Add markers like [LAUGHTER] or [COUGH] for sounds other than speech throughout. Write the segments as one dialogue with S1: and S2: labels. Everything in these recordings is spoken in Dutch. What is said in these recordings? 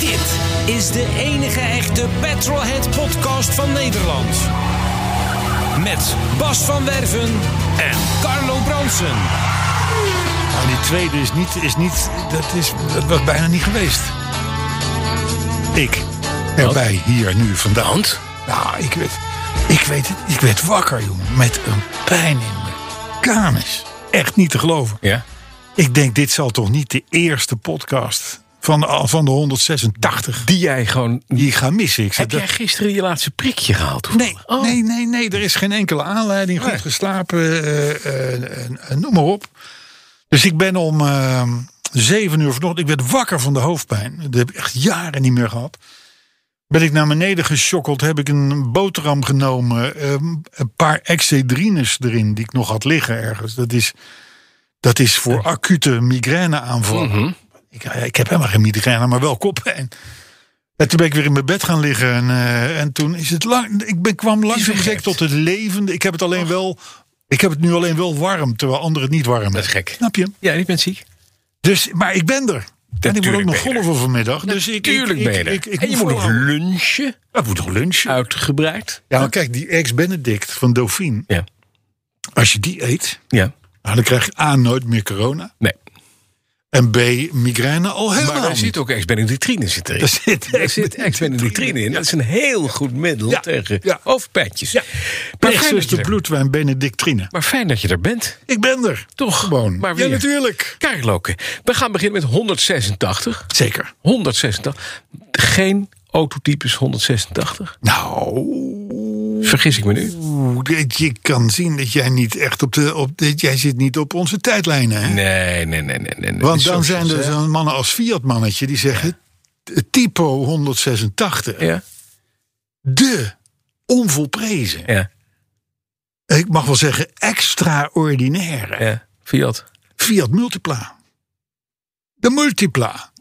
S1: Dit is de enige echte Petrolhead podcast van Nederland. Met Bas van Werven en Carlo Bronsen.
S2: Maar die tweede is niet, is niet dat, is, dat was bijna niet geweest. Ik. Erbij, hier, nu, vandaan. Nou, ik werd, ik, weet, het, ik werd wakker, jongen. Met een pijn in mijn kanus. Echt niet te geloven.
S3: Ja?
S2: Ik denk, dit zal toch niet de eerste podcast van, de- van de 186
S3: Die jij gewoon...
S2: die ik ga missen. Ik zei,
S3: Heb jij
S2: dat-
S3: gisteren je laatste prikje gehaald?
S2: Nee,
S3: Oh.
S2: nee, nee, nee, er is geen enkele aanleiding. Goed
S3: Nee.
S2: geslapen, eh, eh, eh, eh, noem maar op. Dus ik ben om eh, zeven uur vanochtend, ik werd wakker van de hoofdpijn. Dat heb ik echt jaren niet meer gehad. Ben ik naar beneden geschokkeld, heb ik een boterham genomen. eh, een paar excedrines erin die ik nog had liggen ergens. Dat is, dat is voor acute migraineaanvallen.
S3: Mhm.
S2: ik, ik heb helemaal geen migraine, maar wel koppijn. En toen ben ik weer in mijn bed gaan liggen. En, eh, en toen is het lang. Ik ben, kwam langzaam
S3: vergeet.
S2: gezegd tot het levende. Ik heb het alleen wel. Ik heb het nu alleen wel warm, terwijl anderen het niet warm hebben.
S3: is gek.
S2: Snap je?
S3: Ja, ik ben ziek.
S2: Dus, maar ik ben er. en ik moet ook
S3: Natuurlijk
S2: nog
S3: ben je er.
S2: golven vanmiddag. Dus ik,
S3: Tuurlijk
S2: ik,
S3: ben je
S2: ik,
S3: er.
S2: Ik, ik
S3: en je moet nog
S2: vooral-
S3: lunchen.
S2: Ik moet nog lunchen.
S3: Uitgebreid.
S2: Ja, maar kijk, die ex-Benedict van Dauphine.
S3: Ja.
S2: Als je die eet,
S3: Ja.
S2: nou, dan krijg je A, nooit meer corona.
S3: Nee.
S2: En B, migraine al helemaal
S3: Maar daar
S2: niet.
S3: zit ook ex-benedictrine zit erin.
S2: Daar zit
S3: Daar zit ex-benedictrine in. Dat is een heel goed middel
S2: Ja.
S3: tegen
S2: Ja.
S3: hoofdpijntjes. Maar, fijn dat je
S2: Pleegzuster
S3: er-
S2: Bloedwijn Benedictrine.
S3: maar fijn dat je er bent.
S2: Ik ben er.
S3: Toch?
S2: Gewoon.
S3: Maar
S2: ja,
S3: weer.
S2: natuurlijk.
S3: Kaarloken. We gaan beginnen met 186.
S2: Zeker.
S3: 186. Geen autotypes 186.
S2: Nou,
S3: Vergis ik me nu?
S2: dit- je kan zien dat jij niet echt op de... Op, dit- jij zit niet op onze tijdlijnen. Hè?
S3: Nee, nee, nee, nee. nee, nee.
S2: Want
S3: Zo
S2: dan zijn
S3: zoals,
S2: er
S3: hè?
S2: zo'n mannen als Fiat mannetje die zeggen... t- Typo 186.
S3: Ja,
S2: De onvolprezen.
S3: ja,
S2: Ik mag wel zeggen extraordinaire.
S3: ja. Fiat.
S2: Fiat Multipla. De Multipla.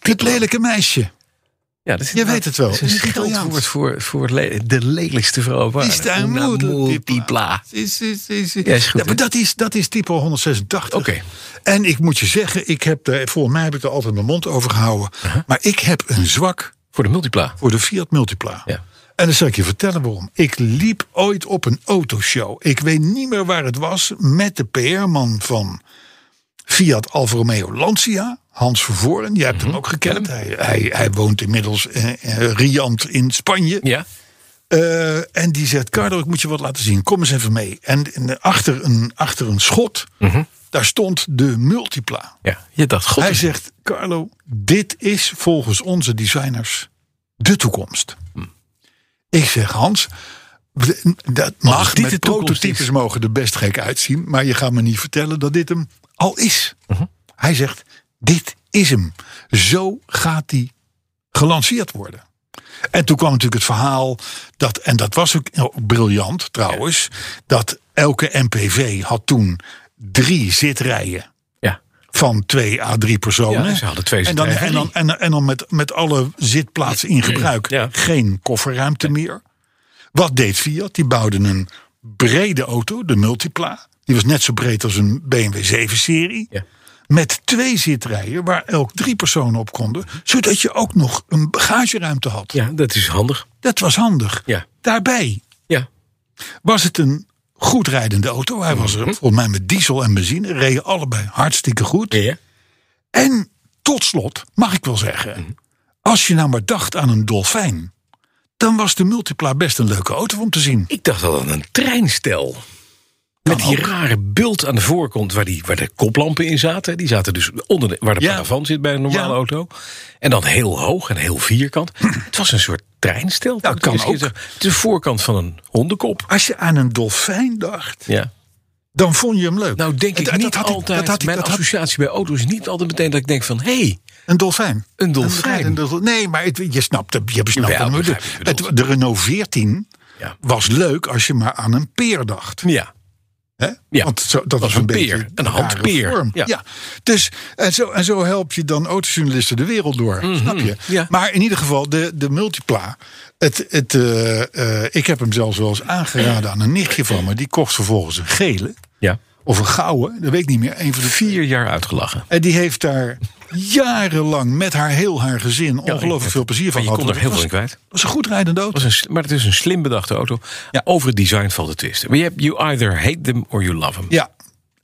S2: Het lelijke meisje.
S3: Ja, dat is
S2: Je weet het wel.
S3: Dat is
S2: Het
S3: een
S2: is Italiaans.
S3: scheldwoord voor, voor le- de lelijkste vrouw. waar.
S2: Is daar
S3: Una multipla.
S2: multipla?
S3: Oké.
S2: Is, is, is, is.
S3: Ja, is goed,
S2: Ja, maar dat is, dat is type 186. En ik moet je zeggen, ik heb er, volgens mij heb ik er altijd mijn mond over gehouden.
S3: Uh-huh.
S2: Maar ik heb een zwak
S3: Voor de multipla.
S2: voor de Fiat Multipla.
S3: Ja.
S2: En dan zal ik je vertellen waarom. Ik liep ooit op een autoshow. Ik weet niet meer waar het was. Met de PR-man van Fiat Alfa Romeo Lancia. Hans Vervoren. Jij hebt
S3: Mhm.
S2: hem ook gekend. Hij, hij, hij woont inmiddels eh, eh, riant in Spanje.
S3: Ja.
S2: Eh, en die zegt, Carlo, ik moet je wat laten zien. Kom eens even mee. En, en achter, een, achter een schot, daar stond de Multipla.
S3: ja. Je dacht, god.
S2: Hij
S3: is-
S2: zegt, Carlo, dit is volgens onze designers de toekomst.
S3: Hm.
S2: Ik zeg, Hans, dat mag.
S3: dit
S2: Met
S3: de toekomst
S2: prototypes
S3: is.
S2: mogen er best gek uitzien. Maar je gaat me niet vertellen dat dit hem al is.
S3: Mhm.
S2: Hij zegt, dit is hem. Zo gaat die gelanceerd worden. En toen kwam natuurlijk het verhaal dat, en dat was ook heel briljant trouwens, dat elke MPV had toen drie zitrijen
S3: ja.
S2: van twee à drie personen.
S3: Ja, ze hadden twee
S2: en dan,
S3: zitrijen.
S2: en dan, en, en dan met, met alle zitplaatsen in gebruik
S3: Ja.
S2: geen kofferruimte meer. Wat deed Fiat? Die bouwden een brede auto, de Multipla. Die was net zo breed als een BMW 7-serie.
S3: Ja.
S2: Met twee zitrijen waar elk drie personen op konden. Zodat je ook nog een bagageruimte had.
S3: ja, dat is handig.
S2: Dat was handig.
S3: Ja.
S2: Daarbij
S3: Ja.
S2: was het een goed rijdende auto. Hij was er
S3: Mhm.
S2: volgens mij met diesel en benzine. Reden allebei hartstikke goed.
S3: Ja.
S2: En tot slot, mag ik wel
S4: Mhm.
S2: zeggen, als je nou maar dacht aan een dolfijn, dan was de Multipla best een leuke auto om te zien.
S3: Ik dacht dat het een treinstel.
S4: Met die rare bult aan de voorkant waar, die, waar de koplampen in zaten. Die zaten dus onder de, waar de
S2: Ja.
S4: paravan zit bij een normale
S2: Ja.
S4: auto. En dan heel hoog en heel
S2: [CLEARS THROAT]
S4: vierkant. Het was een soort treinstel.
S2: Ja, kan
S4: Het is-
S2: ook.
S4: Het is de voorkant van een hondenkop.
S2: Als je aan een dolfijn dacht,
S4: Ja.
S2: dan vond je hem leuk.
S4: Nou denk
S2: En
S4: ik
S2: dat-
S4: niet
S2: dat had ik-
S4: altijd,
S2: dat had ik-
S4: mijn
S2: dat had-
S4: associatie bij auto's is niet altijd meteen dat ik denk van... hé, hey,
S2: Een dolfijn.
S4: Een dolfijn.
S2: Een dolfijn. Nee, maar het- je snapt het. Je besnapt
S4: Ja,
S2: het.
S4: ik begrijp
S2: Het-
S4: wat je bedoelt.
S2: het- de Renault 14
S4: Ja.
S2: was leuk als je maar aan een peer dacht.
S4: ja,
S2: Hè?
S4: Ja,
S2: Want zo, dat was
S4: een
S2: een,
S4: peer,
S2: beetje
S4: een
S2: rare
S4: handpeer,
S2: vorm.
S4: ja.
S2: Ja. Dus, en, zo, en zo help je dan autojournalisten de wereld door. Snap je?
S4: Mhm. ja.
S2: Maar in ieder geval, de, de multipla. Het, het, eh, eh, ik heb hem zelfs wel eens aangeraden aan een nichtje van me. Die kocht vervolgens een gele
S4: ja.
S2: of een gouden. Dat weet ik niet meer. Een van de
S4: Vier jaar uitgelachen.
S2: en die heeft daar jarenlang met haar heel haar gezin ongelooflijk veel plezier van
S4: Maar je
S2: gehad.
S4: kon er heel veel in
S2: Dat was-
S4: kwijt.
S2: Dat was een goed rijdende auto.
S4: Het was een, maar het is een slim bedachte auto. Over het design valt het twisten. Maar je hebt you either hate them or you love them.
S2: Ja.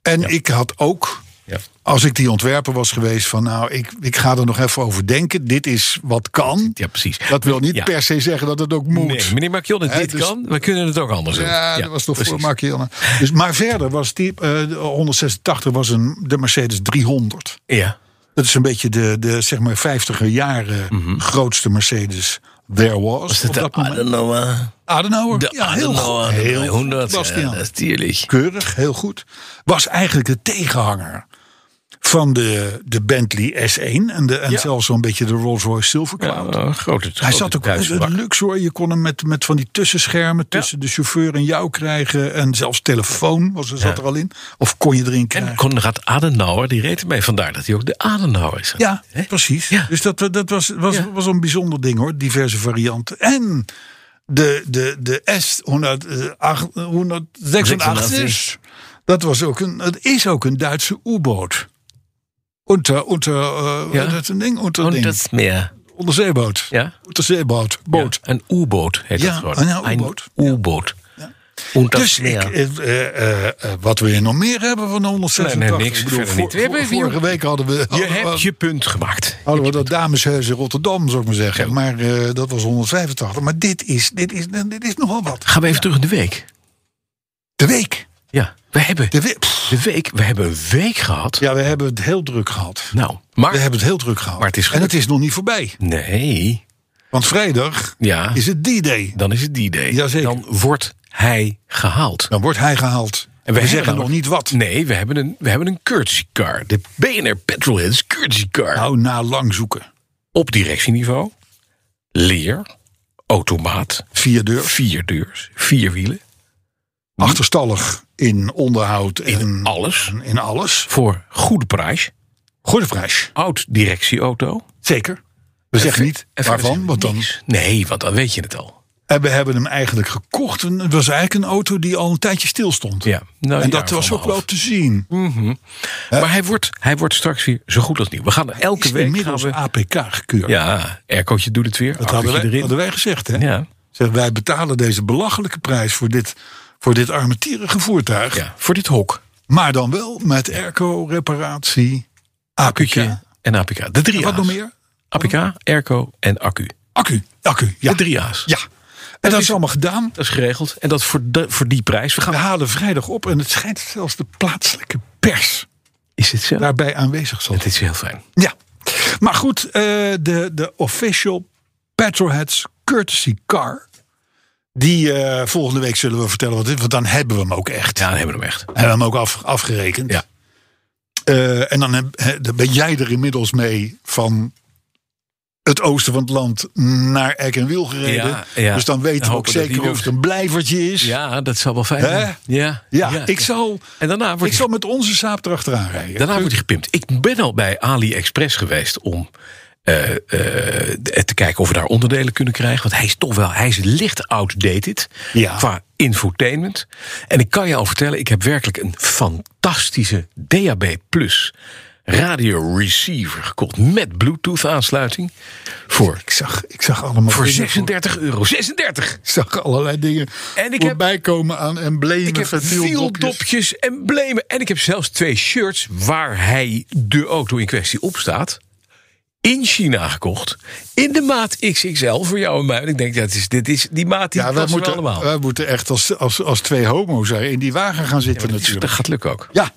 S2: En ik had ook,
S4: Ja.
S2: als ik die ontwerper was geweest, van nou, ik, ik ga er nog even over denken. Dit is wat kan.
S4: Ja, precies.
S2: Dat wil niet
S4: Ja.
S2: per se zeggen dat het ook moet.
S4: Nee, meneer Marchionne,
S2: Hè,
S4: dit
S2: dus-
S4: kan. We kunnen het ook anders doen.
S2: Ja, dat was toch
S4: precies.
S2: voor Marquion. Dus, maar verder was die eh, de 186 was een, de Mercedes 300.
S4: Ja,
S2: Dat is een beetje de, de zeg maar 50er jaren grootste Mercedes there was. op
S4: Mhm. de
S2: dat moment.
S4: Adenauer.
S2: Adenauer.
S4: De
S2: ja, heel
S4: Adenauer,
S2: goed.
S4: de
S2: Heel goed,
S4: 300. Ja,
S2: Bastiaan.
S4: dat is dierlijk.
S2: Keurig, heel goed. Was eigenlijk de tegenhanger van de, de Bentley S1 en, de, en
S4: Ja.
S2: zelfs zo'n beetje de Rolls-Royce Silver
S4: Ja,
S2: Cloud.
S4: Oh, een grote
S2: Hij zat ook
S4: thuis.
S2: een luxe hoor. Je kon hem met, met van die tussenschermen tussen de chauffeur en jou krijgen. En zelfs telefoon was, er- zat er al in. Of kon je erin krijgen.
S4: En Konrad Adenauer, die reed ermee. Vandaar dat hij ook de Adenauer is.
S2: Ja,
S4: Hè?
S2: precies.
S4: Ja.
S2: Dus dat, dat was, was,
S4: Ja.
S2: was een bijzonder ding hoor. Diverse varianten. En de, de, de eh, S-186. Dat was ook een, het is ook een Duitse U-boot. Unter, unter, eh,
S4: Ja.
S2: dat is een ding, unter
S4: En
S2: ding.
S4: dat is meer.
S2: onderzeeboot.
S4: Ja.
S2: Onderzeeboot, boot.
S4: Ja, een U-boot heet
S2: Ja,
S4: dat gewoon.
S2: een U-boot.
S4: Een U-boot. En dat
S2: Dus
S4: meer.
S2: ik, eh, eh, eh, wat wil je nog meer hebben van de 186?
S4: Nee, nee, niks,
S2: Ik bedoel,
S4: verder niet.
S2: voor-
S4: We hebben-
S2: vorige week hadden we...
S4: Je
S2: hadden we-
S4: hebt je punt gemaakt.
S2: Hadden we Oh, dat dameshuis in Rotterdam, zou ik maar zeggen.
S4: Ja.
S2: Maar eh, dat was 185. Maar dit is, dit is, dit is nogal wat.
S4: Gaan we even terug in de week.
S2: De week.
S4: Ja, we hebben
S2: De week. Pff.
S4: de week, we hebben een week gehad.
S2: Ja, we hebben het heel druk gehad.
S4: Nou,
S2: We
S4: maar...
S2: hebben het heel druk gehad.
S4: Maar het is
S2: en
S4: gelukt.
S2: het is nog niet voorbij.
S4: Nee,
S2: Want vrijdag
S4: ja,
S2: is het die day.
S4: dan is het die idee.
S2: Jazeker.
S4: Dan wordt hij gehaald.
S2: Dan wordt hij gehaald. En we
S4: hebben
S2: zeggen
S4: dan
S2: nog
S4: ook-
S2: niet wat.
S4: Nee, we hebben een, we hebben een courtesy car. De BNR Petrolheads courtesy car.
S2: Nou, na lang zoeken.
S4: Op directieniveau. Leer. Automaat.
S2: Vier deur.
S4: Vier deurs. Vier wielen.
S2: Achterstallig in onderhoud en
S4: Hm. In alles.
S2: en in alles.
S4: Voor goede prijs.
S2: Goede prijs.
S4: Oud directieauto.
S2: Zeker. We zeggen niet
S4: En verder
S2: waarvan, want dan
S4: niks. Nee, want dan weet je het al.
S2: En we hebben hem eigenlijk gekocht. En Het was eigenlijk een auto die al een tijdje stil stond.
S4: Ja, nou,
S2: en
S4: een
S2: dat
S4: jaar of
S2: was ook
S4: anderhalf.
S2: wel te zien.
S4: Maar hij wordt, hij wordt straks weer zo goed als nieuw. We gaan er elke
S2: Is
S4: week gaan
S2: inmiddels
S4: we,
S2: APK gekeurd.
S4: Ja, aircootje doet het weer.
S2: dat hadden
S4: Autootje
S2: wij,
S4: erin.
S2: hadden wij gezegd. Hè?
S4: Ja.
S2: Zeg, wij betalen deze belachelijke prijs voor dit, voor dit armetierige voertuig.
S4: ja, voor dit hok.
S2: Maar dan wel met airco, reparatie, APK.
S4: Accu'tje en APK. De drie
S2: En wat
S4: A's.
S2: nog meer?
S4: APK, airco en accu.
S2: Accu. Accu, ja.
S4: De drie A's.
S2: ja. En dat is allemaal gedaan.
S4: Dat is geregeld. En dat voor, de- voor die prijs. We
S2: We
S4: gaan,
S2: halen vrijdag op en het schijnt zelfs de plaatselijke pers
S4: is dit zo?
S2: daarbij aanwezig zal
S4: Het is heel fijn.
S2: Ja, maar goed, eh, de, de official Petrolheads Courtesy Car. Die eh, volgende week zullen we vertellen wat dit is, want dan hebben we hem ook echt.
S4: Ja, dan hebben we hem echt.
S2: Hebben we hem ook af, afgerekend.
S4: Ja.
S2: Eh, en dan, heb- he- dan ben jij er inmiddels mee van het oosten van het land naar Eck en Wiel gereden.
S4: Ja, ja.
S2: Dus dan weten
S4: Dan
S2: we
S4: hopen
S2: ook
S4: we dat
S2: zeker
S4: die
S2: of het
S4: doet.
S2: een blijvertje is.
S4: Ja, dat zal wel fijn
S2: Hè?
S4: zijn. Ja,
S2: Ja, ik, zal,
S4: En daarna wordt
S2: ik
S4: hij
S2: zal met onze saap erachteraan rijden.
S4: Daarna wordt hij gepimpt. Ik ben al bij AliExpress geweest om eh, eh, te kijken of we daar onderdelen kunnen krijgen. Want hij is toch wel, hij is licht outdated
S2: Ja.
S4: qua infotainment. En ik kan je al vertellen, ik heb werkelijk een fantastische DAB Plus radio receiver gekocht met Bluetooth aansluiting voor,
S2: Ik zag, ik zag allemaal
S4: voor
S2: dingen
S4: 36 euro. 36!
S2: Ik zag allerlei dingen
S4: En ik heb-
S2: voorbij komen aan emblemen.
S4: Ik heb
S2: ventieldopjes.
S4: veel dopjes, emblemen. En ik heb zelfs twee shirts waar hij de auto in kwestie op staat. in China gekocht. In de maat XXL voor jou en mij. En Ik denk, dat is, dit is die maat die
S2: Ja,
S4: ja,
S2: wij
S4: we
S2: moeten,
S4: allemaal.
S2: wij moeten echt als, als, als twee homo's er in die wagen gaan zitten
S4: dat, is- Dus dat
S2: natuurlijk.
S4: gaat lukken ook.
S2: Ja,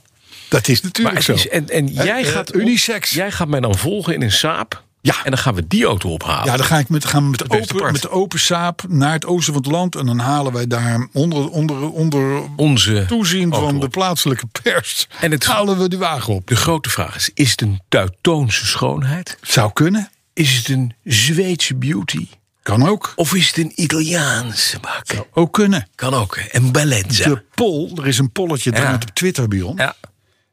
S2: dat is
S4: Maar
S2: natuurlijk
S4: het
S2: zo.
S4: is, en en
S2: Hè,
S4: jij,
S2: eh,
S4: gaat
S2: unisex.
S4: Jij gaat mij dan volgen in een saap.
S2: Ja.
S4: En dan gaan we die auto ophalen.
S2: Ja, dan ga ik met, gaan we met,
S4: beste
S2: open,
S4: part.
S2: met de open saap naar het oosten van het land. En dan halen wij daar onder, onder, onder
S4: Onze
S2: toezien
S4: auto
S2: van de
S4: op.
S2: plaatselijke pers.
S4: En het-
S2: halen we die wagen op.
S4: De grote vraag is, is het een Teutoonse schoonheid?
S2: Zou kunnen.
S4: Is het een Zweedse beauty?
S2: Kan ook.
S4: Of is het een Italiaanse bak?
S2: Ook kunnen.
S4: Kan ook. hè. En Ballenza.
S2: De pol, er is een polletje
S4: Ja.
S2: ja. op Twitter, Bion.
S4: Ja.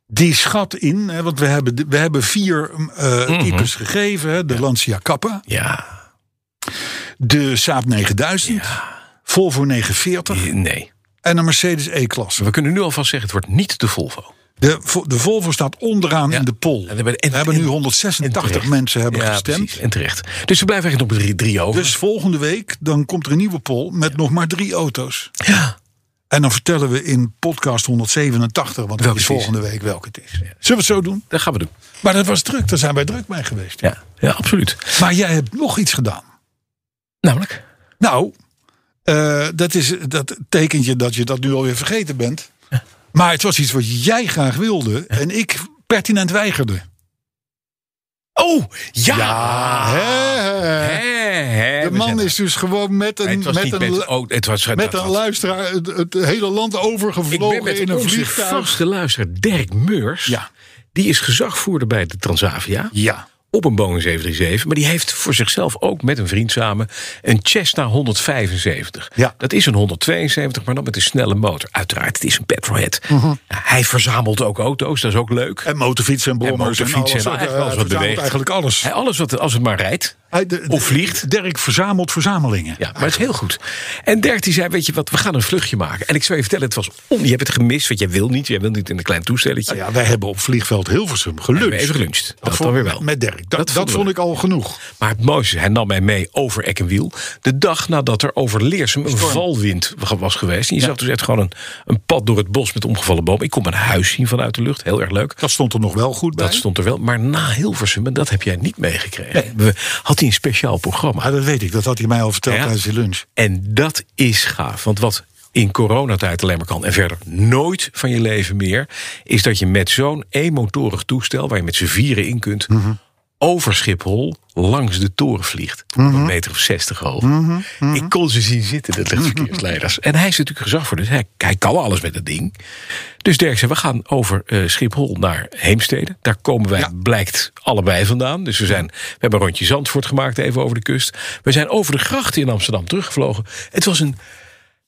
S2: Die schat in, hè, want we hebben, de- we hebben vier eh,
S4: Mhm.
S2: types gegeven. hè. De Lancia Kappa,
S4: ja.
S2: de Saab 9000, Volvo 940
S4: Nee.
S2: en een Mercedes E-klasse.
S4: We kunnen nu alvast zeggen, het wordt niet de Volvo.
S2: De, Vo- de Volvo staat onderaan in de pol.
S4: En hebben- en-
S2: we hebben nu
S4: en-
S2: 186
S4: terecht.
S2: mensen hebben
S4: ja,
S2: gestemd.
S4: precies. En terecht. Dus we blijven eigenlijk op de drie, drie over.
S2: Dus volgende week dan komt er een nieuwe poll met nog maar drie auto's.
S4: ja.
S2: En dan vertellen we in podcast 187, want
S4: Welke
S2: het is
S4: het is.
S2: volgende week welke het is. Zullen we het zo doen?
S4: Dat gaan we doen.
S2: Maar dat was druk, daar zijn wij druk mee geweest.
S4: Ja, ja absoluut.
S2: Maar jij hebt nog iets gedaan.
S4: Namelijk?
S2: Nou, eh, dat is dat tekentje dat je dat nu alweer vergeten bent. Maar het was iets wat jij graag wilde en ik pertinent weigerde.
S4: Oh, ja!
S2: Hè, hè.
S4: Hè, hè,
S2: De
S4: we zijn
S2: man
S4: er.
S2: is dus gewoon met
S4: Nee,
S2: een,
S4: het was
S2: met
S4: niet
S2: een,
S4: met...
S2: lu-
S4: Oh, het was...
S2: met een luisteraar het, het hele land
S4: Ik ben
S2: overgevlogen
S4: met
S2: in een
S4: onze
S2: vliegtuig.
S4: vaste luisteraar Dirk Meurs.
S2: Ja.
S4: Die is gezagvoerder bij de Transavia.
S2: Ja.
S4: Op een Boeing 737. Maar die heeft voor zichzelf ook met een vriend samen een Cessna 175.
S2: Ja.
S4: Dat is een 172, maar dan met een snelle motor. Uiteraard, het is een petrolhead.
S2: Mhm.
S4: Ja, hij verzamelt ook auto's, dat is ook leuk.
S2: En motorfietsen en brommers.
S4: En motorfietsen en
S2: alles.
S4: eigenlijk alles
S2: Hij
S4: wat
S2: verzamelt
S4: beweegt.
S2: Eigenlijk alles.
S4: Hij, alles wat, als het maar rijdt.
S2: Hij- de-
S4: of vliegt.
S2: Dirk verzamelt verzamelingen.
S4: Ja, maar het is heel goed. En Dirk die zei, weet je wat, we gaan een vluchtje maken. En ik zou je vertellen, het was on... Je hebt het gemist, want jij wil niet. Jij wil niet in een klein toestelletje.
S2: Nou ja, wij hebben op vliegveld Hilversum geluncht.
S4: Hebben we even geluncht. Dat
S2: vond-
S4: dan weer wel.
S2: Met Dirk. Dat,
S4: Dat
S2: dat,
S4: vonden we
S2: vond ik al genoeg.
S4: Maar het mooiste, is, hij nam mij mee over Eck en Wiel. De dag nadat er over Leersum een valwind was geweest. En je zag dus echt gewoon een, een pad door het bos met omgevallen bomen. Ik kon mijn huis zien vanuit de lucht. Heel erg leuk.
S2: Dat stond er nog wel goed bij.
S4: Dat stond er wel. Maar na Hilversum, en dat heb jij niet meegekregen. We, had hij een speciaal programma.
S2: maar Ah, dat weet ik. Dat had hij mij al verteld
S4: Ja.
S2: tijdens de lunch.
S4: En dat is gaaf. Want wat in coronatijd alleen maar kan en verder nooit van je leven meer, is dat je met zo'n eenmotorig toestel, waar je met z'n vieren in kunt,
S2: Mhm.
S4: over Schiphol langs de toren vliegt. Op
S2: Mhm.
S4: een meter of zestig hoog. Ik kon ze zien zitten, de
S2: Mhm.
S4: luchtverkeersleiders. En hij is natuurlijk gezag voor, dus hij, hij kan alles met dat ding. Dus Dirk zei, we gaan over eh, Schiphol naar Heemstede. Daar komen wij, blijkt, allebei vandaan. Dus we, zijn, we hebben een rondje Zandvoort gemaakt, even over de kust. We zijn over de grachten in Amsterdam teruggevlogen. Het was een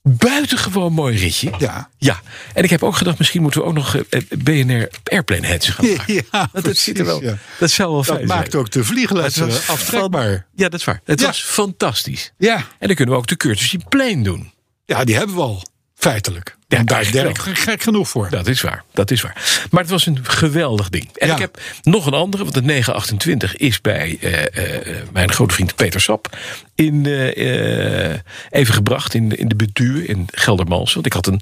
S4: buitengewoon mooi ritje.
S2: Ja.
S4: Ja, en ik heb ook gedacht, misschien moeten we ook nog eh, eh, BNR Airplane Heads gaan
S2: [LAUGHS]
S4: maken.
S2: Ja,
S4: Want dat,
S2: precies,
S4: zit er wel,
S2: ja.
S4: dat zou wel
S2: Dat
S4: fijn zijn.
S2: maakt ook de vliegles
S4: Het was
S2: eh, aftrekbaar.
S4: Ja, dat is waar. Het
S2: Ja.
S4: was fantastisch.
S2: Ja.
S4: En dan kunnen we ook de Curtis Plane doen.
S2: ja, die hebben we al. Feitelijk.
S4: Ja,
S2: En daar is
S4: eigenlijk
S2: Dirk gek genoeg voor.
S4: Dat is waar, dat is waar. Maar het was een geweldig ding. En
S2: Ja.
S4: ik heb nog een andere, want de 928 is bij eh, eh, mijn grote vriend Peter Sap... In, eh, eh, even gebracht in, de- in de Betuwe in Geldermalsen. Want ik had een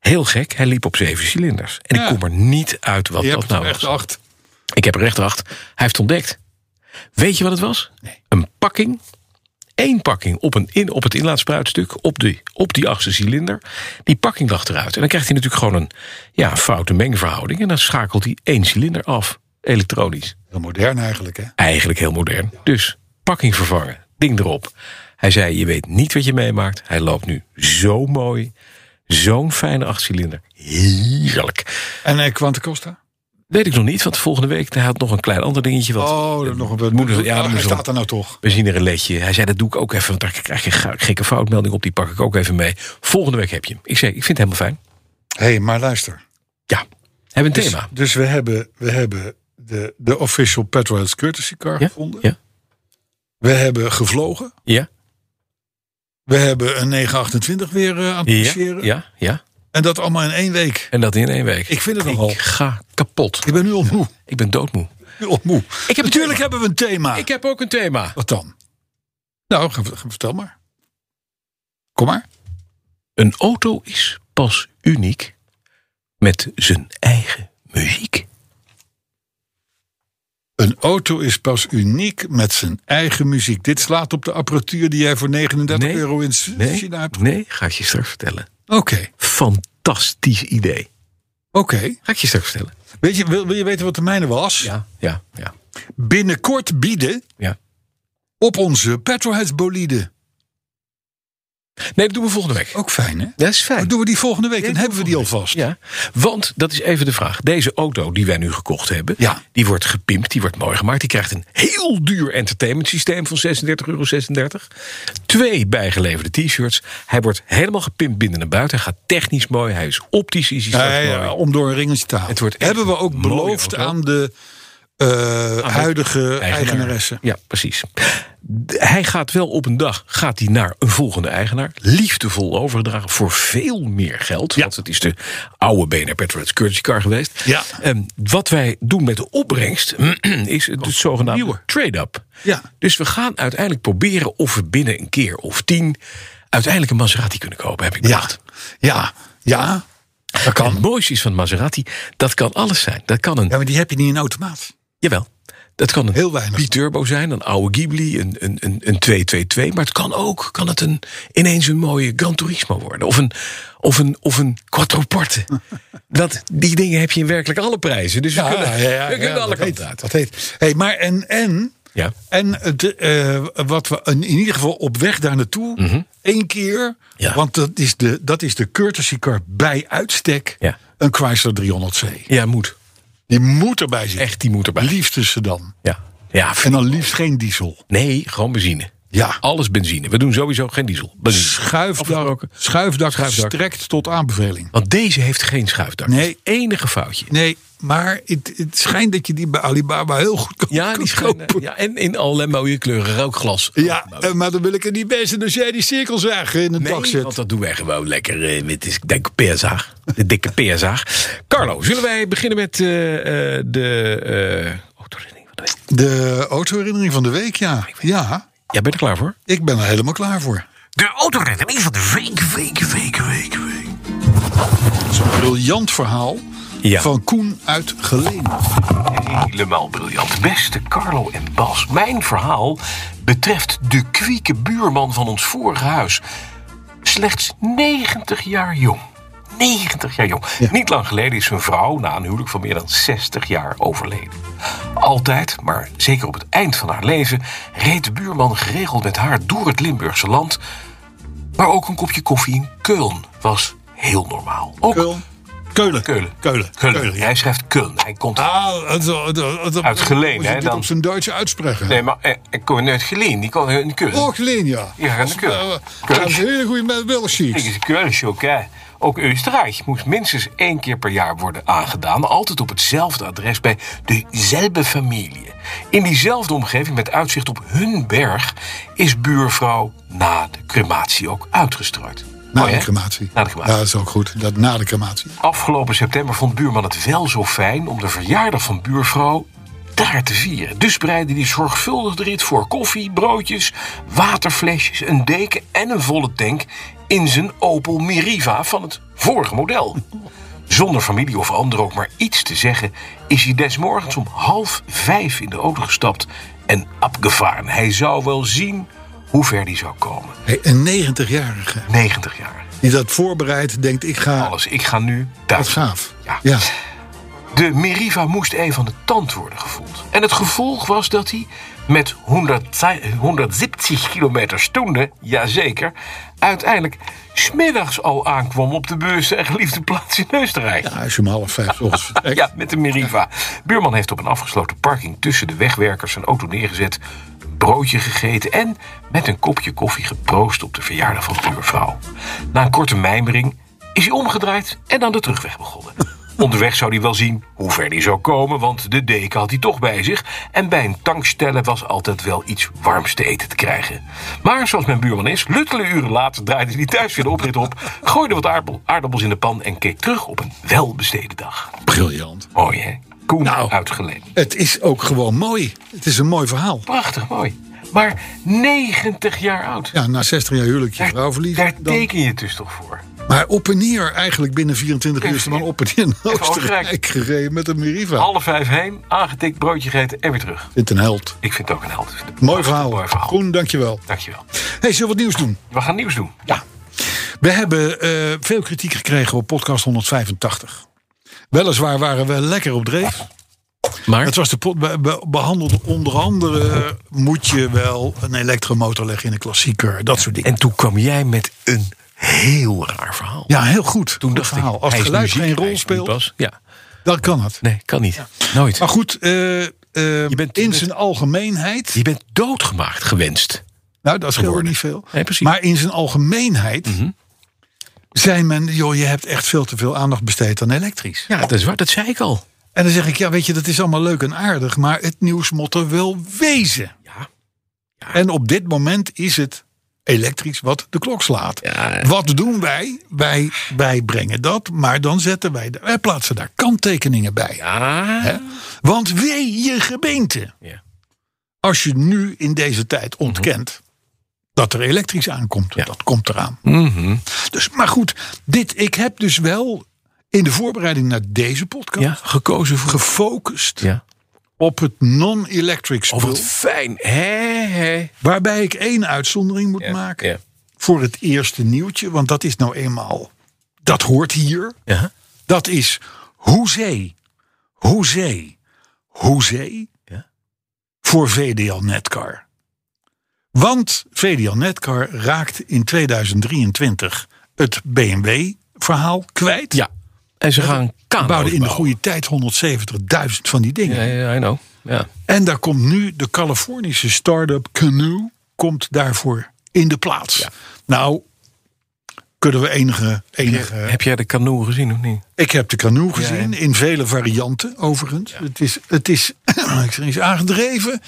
S4: heel gek, hij liep op zeven cilinders. En
S2: Ja.
S4: ik kom er niet uit wat
S2: Je
S4: dat
S2: hebt
S4: nou
S2: er
S4: was.
S2: echt acht.
S4: Ik heb er recht acht. Hij heeft ontdekt. Weet je wat het was? Een pakking. Eén pakking op, een in, op het inlaatspruitstuk. Op, de, op die achtste cilinder. Die pakking lag eruit. En dan krijgt hij natuurlijk gewoon een ja, foute mengverhouding. En dan schakelt hij één cilinder af. Elektronisch.
S2: Heel modern eigenlijk, hè?
S4: Eigenlijk heel modern. Dus pakking vervangen. Ding erop. Hij zei, je weet niet wat je meemaakt. Hij loopt nu zo mooi. Zo'n fijne achtcilinder. Heerlijk.
S2: En eh Quante Costa?
S4: Weet ik nog niet, want volgende week hij had nog een klein ander dingetje. Wat
S2: Oh, dat nog een
S4: moeder- ja,
S2: Ja,
S4: dat
S2: hij
S4: moet zo.
S2: staat er nou toch.
S4: We zien er een leedje. Hij zei, dat doe ik ook even, want daar krijg je een gekke foutmelding op. Die pak ik ook even mee. Volgende week heb je hem. Ik zei, ik vind het helemaal fijn.
S2: Hé, hey, maar luister.
S4: Ja, hebben een
S2: Dus-
S4: thema.
S2: Dus, we hebben, we hebben de, de official Petrolheads Courtesy Car
S4: Ja?
S2: gevonden.
S4: Ja?
S2: We hebben gevlogen.
S4: Ja?
S2: We hebben een 928 weer eh, aan het
S4: Ja?
S2: produceren.
S4: Ja? ja.
S2: En dat allemaal in één week.
S4: En dat in één week.
S2: Ik vind het
S4: ik
S2: nogal.
S4: ga kapot.
S2: Ik ben nu al moe.
S4: Ik ben doodmoe.
S2: Nu al moe.
S4: Ik heb
S2: Natuurlijk hebben we een thema.
S4: Ik heb ook een thema.
S2: Wat dan? Nou, ge- ge- vertel maar. Kom maar.
S4: Een auto is pas uniek met zijn eigen muziek.
S2: Een auto is pas uniek met zijn eigen muziek. Dit slaat op de apparatuur die jij voor 39
S4: Nee,
S2: euro in S-
S4: Nee,
S2: China hebt.
S4: nee, ga ik je straks vertellen.
S2: Oké,
S4: Fantastisch idee.
S2: oké.
S4: Ga ik je straks vertellen.
S2: Weet je, wil, wil je weten wat de mijne was?
S4: ja, ja.
S2: Binnenkort bieden
S4: ja.
S2: op onze Petroheads bolide.
S4: Nee, dat doen we volgende week.
S2: Ook fijn, hè?
S4: Dat is fijn.
S2: Maar doen we die volgende week? Dan hebben we die alvast.
S4: Ja, want dat is even de vraag. Deze auto die wij nu gekocht hebben,
S2: Ja.
S4: die wordt gepimpt, die wordt mooi gemaakt. Die krijgt een heel duur entertainment systeem van 36,36 euro. Twee bijgeleverde t-shirts. Hij wordt helemaal gepimpt binnen en buiten. Hij gaat technisch mooi. Hij is optisch is hij
S2: Ja,
S4: straks
S2: ja,
S4: mooi.
S2: om door een ringeltje te halen.
S4: Het wordt echt
S2: hebben we
S4: een
S2: ook
S4: mooie
S2: beloofd
S4: auto.
S2: aan de eh, huidige eigenaresse.
S4: Ja, precies. D- Hij gaat wel op een dag gaat hij naar een volgende eigenaar. Liefdevol overgedragen voor veel meer geld. Want het is de oude BNR Petroheads Courtesy Car geweest.
S2: Ja.
S4: En wat wij doen met de opbrengst [CLEARS THROAT] is het, zogenaamde
S2: nieuwe.
S4: trade-up.
S2: Ja.
S4: Dus we gaan uiteindelijk proberen of we binnen een keer of tien... uiteindelijk een Maserati kunnen kopen, heb ik
S2: Ja,
S4: bedacht.
S2: ja, ja. Dat kan.
S4: Het mooiste is van Maserati, dat kan alles zijn. Dat kan een
S2: Ja, maar die heb je niet in automaat.
S4: Jawel. Dat kan een
S2: Heel weinig.
S4: biturbo zijn, een oude Ghibli, een, een, een, een 222. Maar het kan ook, kan het een, ineens een mooie Gran Turismo worden. Of een, of een, of een
S2: [LAUGHS]
S4: Quattroporte. dat, die dingen heb je in werkelijk alle prijzen. Dus we kunnen, we kunnen alle
S2: dat heet-
S4: kanten uit.
S2: Dat heet. Hey, maar en, en,
S4: Ja.
S2: en het, eh, wat we in, in ieder geval op weg daar naartoe, één keer,
S4: Mhm. Ja.
S2: want dat is, de, dat is de courtesy car bij uitstek,
S4: Ja.
S2: een Chrysler 300C.
S4: Ja, moet.
S2: Die moet erbij zitten.
S4: Echt, Ah, die moet erbij.
S2: Liefst een sedan.
S4: Ja. ja
S2: En dan liefst geen diesel.
S4: nee, gewoon benzine.
S2: Ja.
S4: Alles benzine. We doen sowieso geen diesel. Benzine.
S2: Schuifdak,
S4: Afgeroken.
S2: schuifdak,
S4: Schuifdak.
S2: strekt tot aanbeveling.
S4: Want deze heeft geen schuifdak.
S2: Nee.
S4: Dat is het enige foutje.
S2: Nee, maar het, het schijnt dat je die bij Alibaba heel goed kan,
S4: Ja, die schijnen,
S2: kopen.
S4: ja, en in allerlei mooie kleuren. Rookglas.
S2: Ja, eh, maar dan wil ik er niet bij zijn als jij die cirkel zagen in het dak
S4: Nee,
S2: zet.
S4: want dat doen wij gewoon lekker eh, met de dikke peerzaag. De dikke peerzaag. Carlo, zullen wij beginnen met eh, eh, de... eh autoherinnering van de week?
S2: De autoherinnering van de week,
S4: Ah,
S2: ja. Ja,
S4: Ja, ben je er klaar voor?
S2: ik ben er helemaal klaar voor.
S4: De autoherinnering van de week, week, week, week, week.
S2: Zo'n briljant verhaal
S4: Ja.
S2: van Koen uit Geleen.
S4: Helemaal briljant. Beste Carlo en Bas, mijn verhaal betreft de kwieke buurman van ons vorige huis. Slechts 90 jaar jong. 90 jaar jong. Niet lang geleden is zijn vrouw na een huwelijk van meer dan 60 jaar overleden. Altijd, maar zeker op het eind van haar leven, reed de buurman geregeld met haar door het Limburgse land. Maar ook een kopje koffie in Keulen was heel normaal. Ook
S2: Keulen. Keulen.
S4: Keulen.
S2: Keulen.
S4: Keulen.
S2: Keulen, ja.
S4: Hij schrijft Keulen. Hij komt
S2: Ah, het- het- het-
S4: Uit Geleen,
S2: moet je
S4: hè,
S2: dit
S4: dan.
S2: op zijn Duits uitspreken.
S4: Nee, maar eh, ik kom uit Geleen, die kon in Keulen.
S2: Oh, Geleen, ja.
S4: Ja, dat kan.
S2: Eh,
S4: Kan.
S2: Dat is een hele goede met
S4: Ik
S2: Wilshieks.
S4: is Keulen ook, hè. Ook Oostenrijk moest minstens één keer per jaar worden aangedaan. Altijd op hetzelfde adres bij dezelfde familie. In diezelfde omgeving met uitzicht op hun berg is buurvrouw na de crematie ook uitgestrooid.
S2: Na
S4: Mooi,
S2: de
S4: hè?
S2: crematie.
S4: Na de crematie.
S2: Ja, dat is ook goed. Dat, na de crematie.
S4: Afgelopen september vond buurman het wel zo fijn om de verjaardag van buurvrouw daar te vieren. Dus bereidde hij zorgvuldig de rit voor koffie, broodjes, waterflesjes, een deken en een volle tank in zijn Opel Meriva van het vorige model. Zonder familie of anderen ook maar iets te zeggen, is hij desmorgens om half vijf in de auto gestapt en abgevaren. Hij zou wel zien hoe ver hij zou komen.
S2: Hey, een 90-jarige
S4: 90 jaar.
S2: die dat voorbereidt, denkt ik ga...
S4: Alles, ik ga nu
S2: Wat
S4: thuis.
S2: gaaf.
S4: Ja.
S2: ja.
S4: De Meriva moest even aan de tand worden gevoeld. En het gevolg was dat hij met 100 170 kilometer stoende, jazeker, uiteindelijk smiddags al aankwam op de beurs en geliefde plaats in Oostenrijk.
S2: Ja, als je om half vijf 's
S4: [LAUGHS]
S2: ochtends vertrekt.
S4: Ja, met de Meriva. Buurman heeft op een afgesloten parking tussen de wegwerkers zijn auto neergezet, een broodje gegeten en met een kopje koffie geproost op de verjaardag van de buurvrouw. Na een korte mijmering is hij omgedraaid en aan de terugweg begonnen. Onderweg zou hij wel zien hoe ver hij zou komen, want de deken had hij toch bij zich. En bij een tankstellen was altijd wel iets warms te eten te krijgen. Maar zoals mijn buurman is, luttele uren later draaide hij thuis weer de oprit op, gooide wat aardappel- aardappels in de pan en keek terug op een welbesteden dag.
S2: Briljant.
S4: Mooi, hè? Koen
S2: Nou.
S4: uitgeleen.
S2: Het is ook gewoon mooi. Het is een mooi verhaal.
S4: Prachtig mooi. Maar 90 jaar oud.
S2: Ja, na 60 jaar huwelijk je vrouw
S4: daar
S2: verliezen.
S4: daar
S2: Dan,
S4: teken je dus toch voor?
S2: Maar op en neer, eigenlijk binnen 24 uur is de man op en neer naar Oostenrijk
S4: Oostenrijk.
S2: gereden met een Meriva.
S4: Half vijf heen, aangetikt, broodje gegeten en weer terug.
S2: Dit een held.
S4: Ik vind het ook een held.
S3: dus
S2: Mooi verhaal.
S4: Mooi verhaal.
S2: Groen, dankjewel.
S4: Dankjewel.
S2: Hey, zullen we wat nieuws doen?
S4: We gaan nieuws doen.
S2: Ja. We hebben eh, veel kritiek gekregen op podcast 185. Weliswaar waren we lekker op dreef.
S3: Maar
S2: Het was de pot, be- be- behandelde onder andere eh, moet je wel een elektromotor leggen in een klassieker, dat soort dingen.
S3: En toen kwam jij met een heel raar verhaal.
S2: ja, heel goed.
S3: toen
S2: Goed
S3: dacht
S2: verhaal.
S3: ik,
S2: als
S3: hij
S2: het
S3: is
S2: geluid
S3: muziek,
S2: geen
S3: hij
S2: rol
S3: is
S2: speelt,
S3: pas. Ja,
S2: dan kan het.
S3: nee, kan niet. Nooit.
S2: Maar goed, eh, eh,
S3: bent- je
S2: in
S3: bent-
S2: zijn algemeenheid.
S3: Je bent doodgemaakt gewenst.
S2: nou, dat scheelt
S3: geworden.
S2: niet veel.
S3: Nee, precies. Mhm.
S2: Maar in zijn algemeenheid zijn men, joh, je hebt echt veel te veel aandacht besteed aan elektrisch.
S3: Ja, dat is waar. Dat zei ik al.
S2: En dan zeg ik, ja, weet je, dat is allemaal leuk en aardig, maar het nieuws moet er wel wezen.
S3: Ja.
S2: En op dit moment is het elektrisch wat de klok slaat.
S3: Ja.
S2: Wat doen wij? wij? Wij brengen dat, maar dan zetten wij, de- wij plaatsen daar kanttekeningen bij. Hè?
S3: Ja.
S2: Want wee je gemeente.
S3: Ja. Mhm.
S2: Als je nu in deze tijd ontkent dat er elektrisch aankomt, dat komt eraan.
S3: Mhm.
S2: Dus, maar goed, dit, ik heb dus wel in de voorbereiding naar deze podcast
S3: ja, gekozen voor.
S2: gefocust
S3: Ja.
S2: op het non-electric spul.
S3: Oh, wat fijn. Hé, hé.
S2: Waarbij ik één uitzondering moet
S3: Ja,
S2: maken
S3: ja.
S2: voor het eerste nieuwtje. Want dat is nou eenmaal, dat hoort hier.
S3: Ja.
S2: Dat is hoezee, hoezee, hoezee
S3: Ja.
S2: voor VDL Netcar. Want VDL Netcar raakt in 2023 het BMW-verhaal kwijt.
S3: ja. En ze gaan
S2: We
S3: kano's
S2: bouwden in de
S3: bouwen.
S2: goede tijd 170.000 van die dingen.
S3: Ja, ja, I know. Ja.
S2: En daar komt nu de Californische start-up Canoe komt daarvoor in de plaats.
S3: Ja.
S2: Nou, kunnen we enige... enige
S3: Heb jij de kanoe gezien of niet?
S2: ik heb de Canoe gezien, in vele varianten overigens. Het is, het is, [CLEARS THROAT] ik zeg eens aangedreven.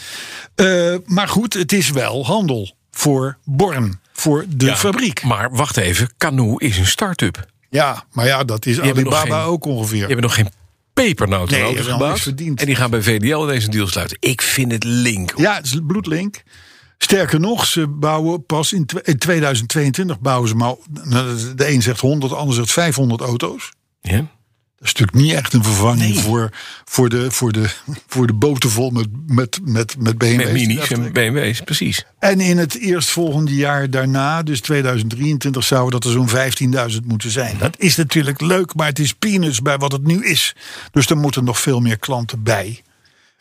S2: Eh, maar goed, het is wel handel voor Born, voor de fabriek.
S3: Maar wacht even. Kanoe is een start-up.
S2: Ja, maar ja, dat is
S3: hebben nog
S2: Alibaba
S3: geen-
S2: ook ongeveer.
S3: Die hebben nog geen pepernoten
S2: Nee,
S3: nodig
S2: hebben nog niks verdiend.
S3: En die gaan bij VDL deze deal sluiten. Ik vind het link.
S2: Ja, het is bloedlink. Sterker nog, ze bouwen pas in, tw- in 2022 bouwen ze maar. nou, De een zegt 100, de ander zegt 500 auto's.
S3: Ja?
S2: Dat is natuurlijk niet echt een vervanging voor, voor, de, voor, de, voor de boten vol met, met, met, met BMW's.
S3: Met minis en BMW's, precies.
S2: En in het eerstvolgende jaar daarna, dus 2023, zouden dat er zo'n 15.000 moeten zijn. Dat is natuurlijk leuk, maar het is peanuts bij wat het nu is. Dus er moeten nog veel meer klanten bij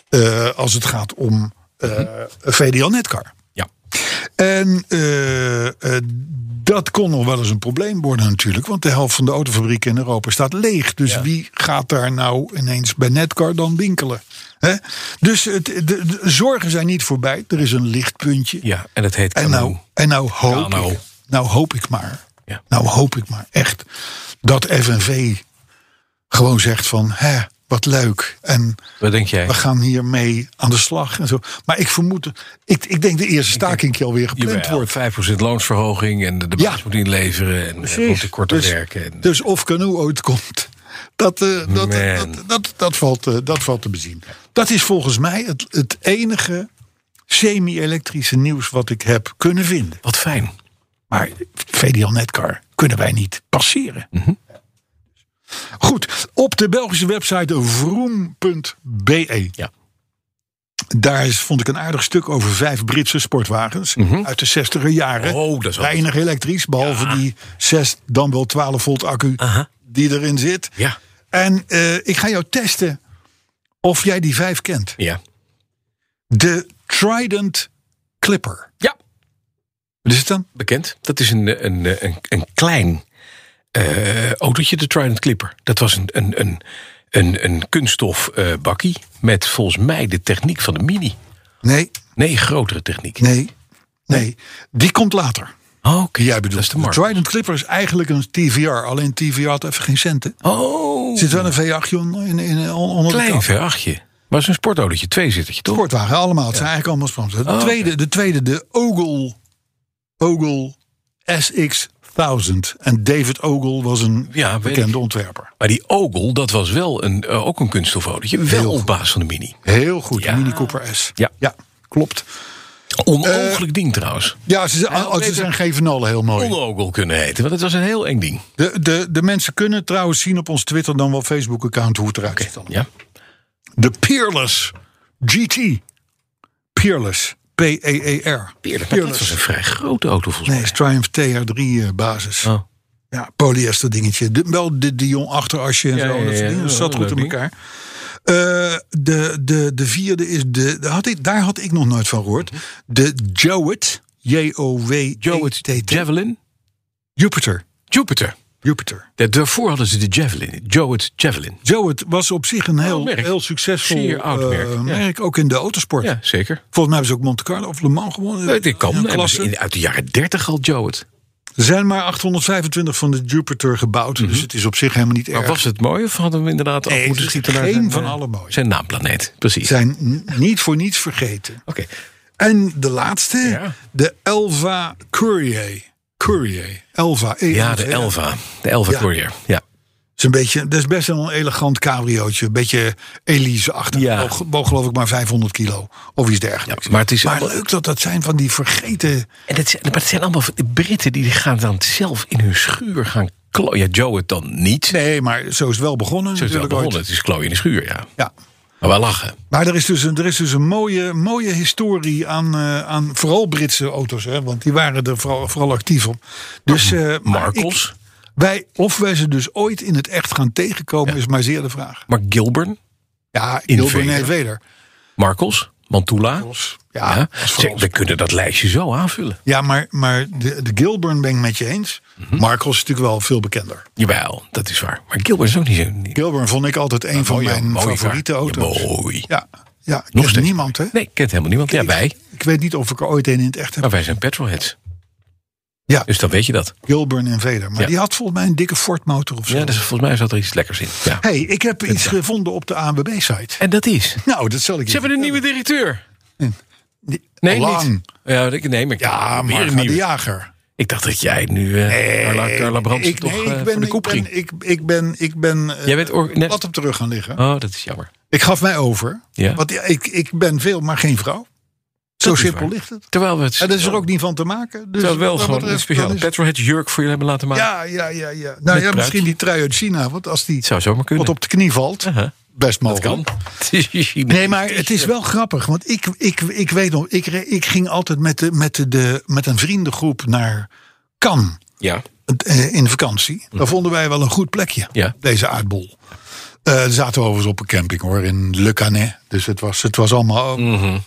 S2: eh, als het gaat om eh, VDL Netcar.
S3: Ja.
S2: En eh, eh, dat kon nog wel eens een probleem worden natuurlijk. Want de helft van de autofabrieken in Europa staat leeg. Dus wie gaat daar nou ineens bij Netcar dan winkelen? Hè? Dus het, de, de zorgen zijn niet voorbij. Er is een lichtpuntje.
S3: ja, en het heet
S2: En
S3: kanoe.
S2: nou, en nou hoop
S3: Ja, nou.
S2: ik. Nou hoop ik maar.
S3: Ja.
S2: Nou hoop ik maar echt. Dat FNV gewoon zegt van. Hè, wat leuk. En
S3: Wat denk jij?
S2: we gaan hiermee aan de slag en zo. Maar ik vermoed, ik, ik denk de eerste staking alweer gepland
S3: Jawel,
S2: wordt.
S3: 5% loonsverhoging en de, de
S2: Ja.
S3: baas moet inleveren en eh, moet korter
S2: dus,
S3: werken. En,
S2: Dus of Canoe ooit komt, dat, eh, dat,
S3: Man.
S2: dat, dat, dat, valt, eh, dat valt te bezien. Dat is volgens mij het, het enige semi-elektrische nieuws wat ik heb kunnen vinden.
S3: wat fijn.
S2: Maar VDL Netcar kunnen wij niet passeren.
S3: Mhm.
S2: Goed, op de Belgische website vroom.be.
S3: Ja.
S2: E. Daar is, vond ik een aardig stuk over vijf Britse sportwagens uit de 60er jaren.
S3: Mhm. Oh, dat is wel-
S2: Weinig elektrisch, behalve die 6 dan wel 12 volt accu
S3: Aha.
S2: die erin zit.
S3: Ja.
S2: En eh, ik ga jou testen of jij die vijf kent.
S3: Ja.
S2: De Trident Clipper.
S3: Ja,
S2: Wat is het dan?
S3: bekend. Dat is een, eh, een, eh, een, een klein eh, autootje, de Trident Clipper. Dat was een, een, een, een, een kunststof eh, bakkie met volgens mij de techniek van de Mini.
S2: Nee,
S3: Nee, grotere techniek.
S2: nee, nee. Die komt later.
S3: Oh,
S2: Die jij bedoelt.
S3: Dat is de
S2: de
S3: markt.
S2: Trident Clipper is eigenlijk een TVR. Alleen TVR had even geen centen.
S3: Oh,
S2: Er zit wel een V8 in, in, onder de
S3: klein
S2: kap.
S3: verachtje. Was een sportautootje, tweezittertje, toch?
S2: Sportwagen, allemaal. Het zijn eigenlijk allemaal sponsors. De,
S3: Oh, oké.
S2: tweede, de tweede, de Ogle, Ogle SX1000. En David Ogle was een
S3: Ja, weet
S2: bekende
S3: ik.
S2: ontwerper.
S3: Maar die Ogle, dat was wel een, eh, ook een kunststof autootje. Wel
S2: Heel
S3: op basis van de Mini.
S2: Heel goed, de
S3: Ja.
S2: Mini Cooper S.
S3: Ja.
S2: klopt. Eh,
S3: Onogelijk ding trouwens.
S2: Ja, ze, zijn-
S3: had
S2: oh, ze
S3: beter-
S2: zijn Gevenallen heel mooi.
S3: Onogel kunnen heten, want het was een heel eng ding.
S2: De, de, de mensen kunnen trouwens zien op ons Twitter dan wel Facebook-account hoe het eruit ziet.
S3: Ja.
S2: De Peerless GT. Peerless. E P-E-E-R.
S3: Peerlijk. Maar dat was een vrij grote auto volgens
S2: Nee, is Triumph TR3 eh, basis.
S3: mij. Oh.
S2: Ja, polyester dingetje. De, wel de Dion achterasje en
S3: Ja,
S2: zo.
S3: ja,
S2: dat soort
S3: ja,
S2: dingen.
S3: ja.
S2: Dat zat
S3: Oh,
S2: goed
S3: leuk
S2: in elkaar. Eh, de, de, de vierde is de. daar Had ik, daar had ik nog nooit van gehoord. De Jowett.
S3: Jowett
S2: J-O-W-E-T-T.
S3: Javelin.
S2: E Jupiter.
S3: Jupiter.
S2: Jupiter.
S3: Da- Daarvoor hadden ze de Javelin. Jowett Javelin.
S2: Jowett was op zich een heel,
S3: Oud Oh, merk.
S2: heel succesvol
S3: Zeer oud
S2: eh,
S3: merk, ja.
S2: merk, Ook in de autosport.
S3: Ja, zeker.
S2: Volgens mij hebben ze ook Monte Carlo of Le Mans gewonnen.
S3: Nee, dit kan.
S2: In een
S3: Hebben
S2: klasse.
S3: ze in- Uit de jaren 30 al Jowett.
S2: Er zijn maar 825 van de Jupiter gebouwd. Dus het is op zich helemaal niet
S3: Mhm. Maar
S2: erg.
S3: was het mooi of hadden we inderdaad
S2: Nee,
S3: af moeten
S2: het is
S3: schieten naar
S2: geen
S3: zijn,
S2: van
S3: eh,
S2: alle mooi.
S3: Zijn naamplaneet, precies. Oké.
S2: Zijn n- niet voor niets vergeten. En de laatste,
S3: Ja.
S2: de Elva Courier. Courier. Elva. E E-L-V-A.
S3: Ja, de Elva. De Elva
S2: Ja.
S3: Courier. Ja.
S2: Dat is, een beetje, dat is best wel een elegant cabriootje. Een beetje Elise-achtig.
S3: Ja.
S2: Woog- Woog geloof ik maar 500 kilo. Of iets dergelijks.
S3: Ja, maar het is
S2: maar
S3: allemaal-
S2: leuk dat dat zijn van die vergeten...
S3: En het, zijn- maar het zijn allemaal van die Britten die gaan dan zelf in hun schuur gaan klooien. Ja, Jowett dan niet.
S2: Nee, maar zo is het wel begonnen.
S3: Zo is het wel
S2: natuurlijk ooit.
S3: begonnen. Het is klooien in de schuur, ja.
S2: Ja.
S3: Maar wel lachen.
S2: Maar er is dus een, er is dus een mooie, mooie historie aan, eh, aan vooral Britse auto's. Hè, want die waren er vooral, vooral actief op. Dus, eh, maar
S3: Oh, Markels.
S2: ik- wij, of wij ze dus ooit in het echt gaan tegenkomen, is maar zeer de vraag.
S3: Mark Gilburn.
S2: Ja,
S3: In
S2: Gilbert
S3: Vader.
S2: en Veder.
S3: Markels. Mantula.
S2: Ja,
S3: Ja.
S2: dat is
S3: Zeg,
S2: vooral-
S3: we kunnen dat lijstje zo aanvullen.
S2: ja, maar, maar de, de Gilburn ben ik met je eens.
S3: Mhm.
S2: Markels is natuurlijk wel veel bekender.
S3: Jawel, dat is waar. Maar Gilburn is ook niet zo... niet-
S2: Gilburn vond ik altijd een van
S3: mooie-
S2: mijn
S3: mooie kar.
S2: favoriete
S3: Ja,
S2: auto's.
S3: mooi.
S2: Ja, ja ik
S3: Nog
S2: ken
S3: steeds.
S2: niemand hè.
S3: Nee, kent helemaal niemand. Ja, wij.
S2: Ik weet niet of ik er ooit een in het echt heb.
S3: Maar wij zijn petrolheads.
S2: Ja.
S3: Dus dan weet je dat.
S2: Gilburn en Veder. Maar
S3: Ja.
S2: die had volgens mij een dikke Ford motor of zo.
S3: Ja, dus volgens mij zat er iets lekkers in. Ja.
S2: Hé, hey, ik heb iets gevonden op de ANWB-site.
S3: En dat is...
S2: Nou, dat zal ik
S3: Ze hebben een nieuwe directeur. Nee, niet. Ja, ik- nee, maar ik-
S2: Hm. Ja,
S3: weer
S2: maar
S3: een
S2: de
S3: nieuwe.
S2: jager.
S3: Ik dacht dat jij nu eh Carla, Carla Brandsen
S2: ik,
S3: toch
S2: nee,
S3: eh,
S2: ik
S3: voor
S2: ben,
S3: de koep
S2: ik
S3: ging.
S2: ben, ik, ik ben, ik ben eh,
S3: Jij bent or- net-
S2: wat op terug gaan liggen.
S3: Oh, dat is jammer.
S2: Ik gaf mij over.
S3: Ja.
S2: Want ja, ik, ik ben veel, maar geen vrouw. Zo
S3: is
S2: simpel
S3: waar.
S2: ligt het.
S3: Terwijl we het
S2: En dat is er ook niet van te maken. Dus
S3: terwijl wel
S2: wat dat
S3: gewoon een
S2: betreft,
S3: speciale
S2: dan is-
S3: petrolhead jurk voor jullie hebben laten maken.
S2: Ja, ja, ja, ja. Nou ja,
S3: pruik.
S2: misschien die trui uit China. Want als die
S3: Het zou zomaar kunnen.
S2: wat op de knie valt,
S3: Uh-huh.
S2: best
S3: dat
S2: mogelijk.
S3: kan. [LAUGHS]
S2: Nee, maar het
S3: eh,
S2: is wel grappig. Want ik, ik, ik weet nog, ik, re- ik ging altijd met, de, met, de- de, met een vriendengroep naar Cannes
S3: Ja.
S2: eh, in vakantie. Daar vonden wij wel een goed plekje,
S3: Hm. Ja.
S2: deze aardbol. Eh zaten we overigens op een camping hoor, in Le Canet. Dus het was, het was allemaal... oh.
S3: Mhm.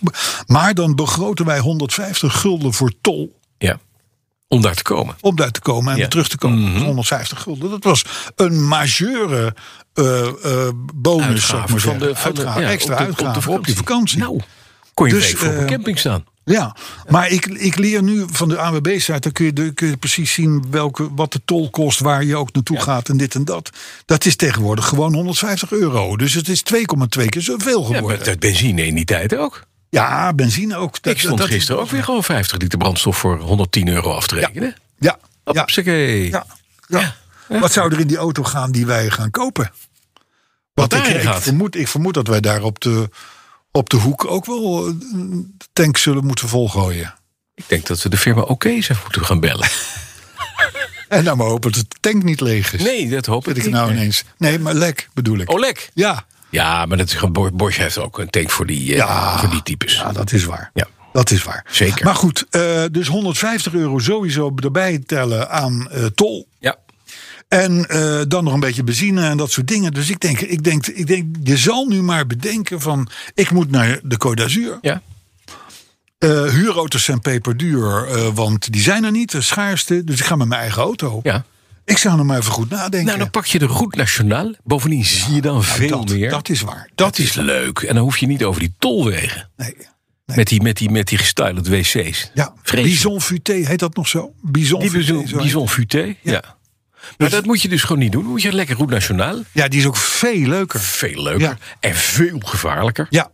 S2: Maar dan begroten wij 150 gulden voor tol
S3: ja. Om daar te komen.
S2: om daar te komen en
S3: Ja. Mhm.
S2: weer terug te komen. 150 gulden. Dat was een majeure eh, eh, bonus, zou ik maar zeggen. Uitgave,
S3: ja,
S2: extra
S3: op de- op de
S2: uitgaven op, die vakantie.
S3: Nou, kon je
S2: Dus,
S3: een week voor op een
S2: eh,
S3: camping staan.
S2: Ja, maar ik, ik leer nu van de AWB-site, dan kun je, dan kun je precies zien welke, wat de tol kost, waar je ook naartoe gaat en dit en dat. Dat is tegenwoordig gewoon 150 euro. Dus het is 2,2 keer zoveel
S3: Ja,
S2: geworden.
S3: met
S2: Ja,
S3: het benzine in die tijd ook.
S2: benzine ook. Dat,
S3: Ik stond
S2: dat-
S3: gisteren ook weer gewoon 50 liter brandstof voor 110 euro af te rekenen.
S2: Ja, ja,
S3: Hopsakee.
S2: ja, ja. Wat zou er in die auto gaan die wij gaan kopen? Wat ik,
S3: daarin
S2: ik,
S3: gaat.
S2: vermoed, ik vermoed dat wij daar op de, op de hoek ook wel eh, de tank zullen moeten volgooien.
S3: Ik denk dat we de firma oké zijn moeten gaan bellen.
S2: [LAUGHS] En nou maar hopen dat de tank niet leeg is.
S3: Nee, dat hoop
S2: Weet
S3: ik
S2: ik
S3: niet.
S2: nou ineens. Nee, maar lek bedoel ik.
S3: Oleg.
S2: Ja,
S3: Ja, maar dat is, gewoon- Bo- Bosch heeft ook een tank voor die, eh,
S2: Ja.
S3: voor die types.
S2: ja, dat is waar.
S3: Ja.
S2: Dat is waar.
S3: Zeker.
S2: Maar goed, eh, dus 150 euro sowieso erbij tellen aan eh, tol.
S3: Ja.
S2: En eh, dan nog een beetje benzine en dat soort dingen. Dus ik denk, ik, denk, ik denk, je zal nu maar bedenken van... ik moet naar de Côte d'Azur.
S3: ja.
S2: Eh, huurauto's zijn peperduur, eh, want die zijn er niet. De schaarste, dus ik ga met mijn eigen auto.
S3: Ja.
S2: Ik zou nog maar even goed nadenken.
S3: Nou, dan pak je de route nationaal. Bovendien zie je dan
S2: Nou,
S3: veel
S2: dat,
S3: meer.
S2: dat is waar.
S3: Dat is leuk. En dan hoef je niet over die tolwegen.
S2: Nee.
S3: Met die, met die, met die gestyled wc's.
S2: Ja,
S3: Vreselijk.
S2: Bison Futé, heet dat nog zo? Bison
S3: Die
S2: Futé,
S3: bizon,
S2: zo heet
S3: bizon futé. Ja. Maar dat moet je dus gewoon niet doen. Dan moet je lekker route nationaal.
S2: Ja, die is ook veel leuker.
S3: Veel leuker.
S2: Ja.
S3: En veel gevaarlijker.
S2: Ja,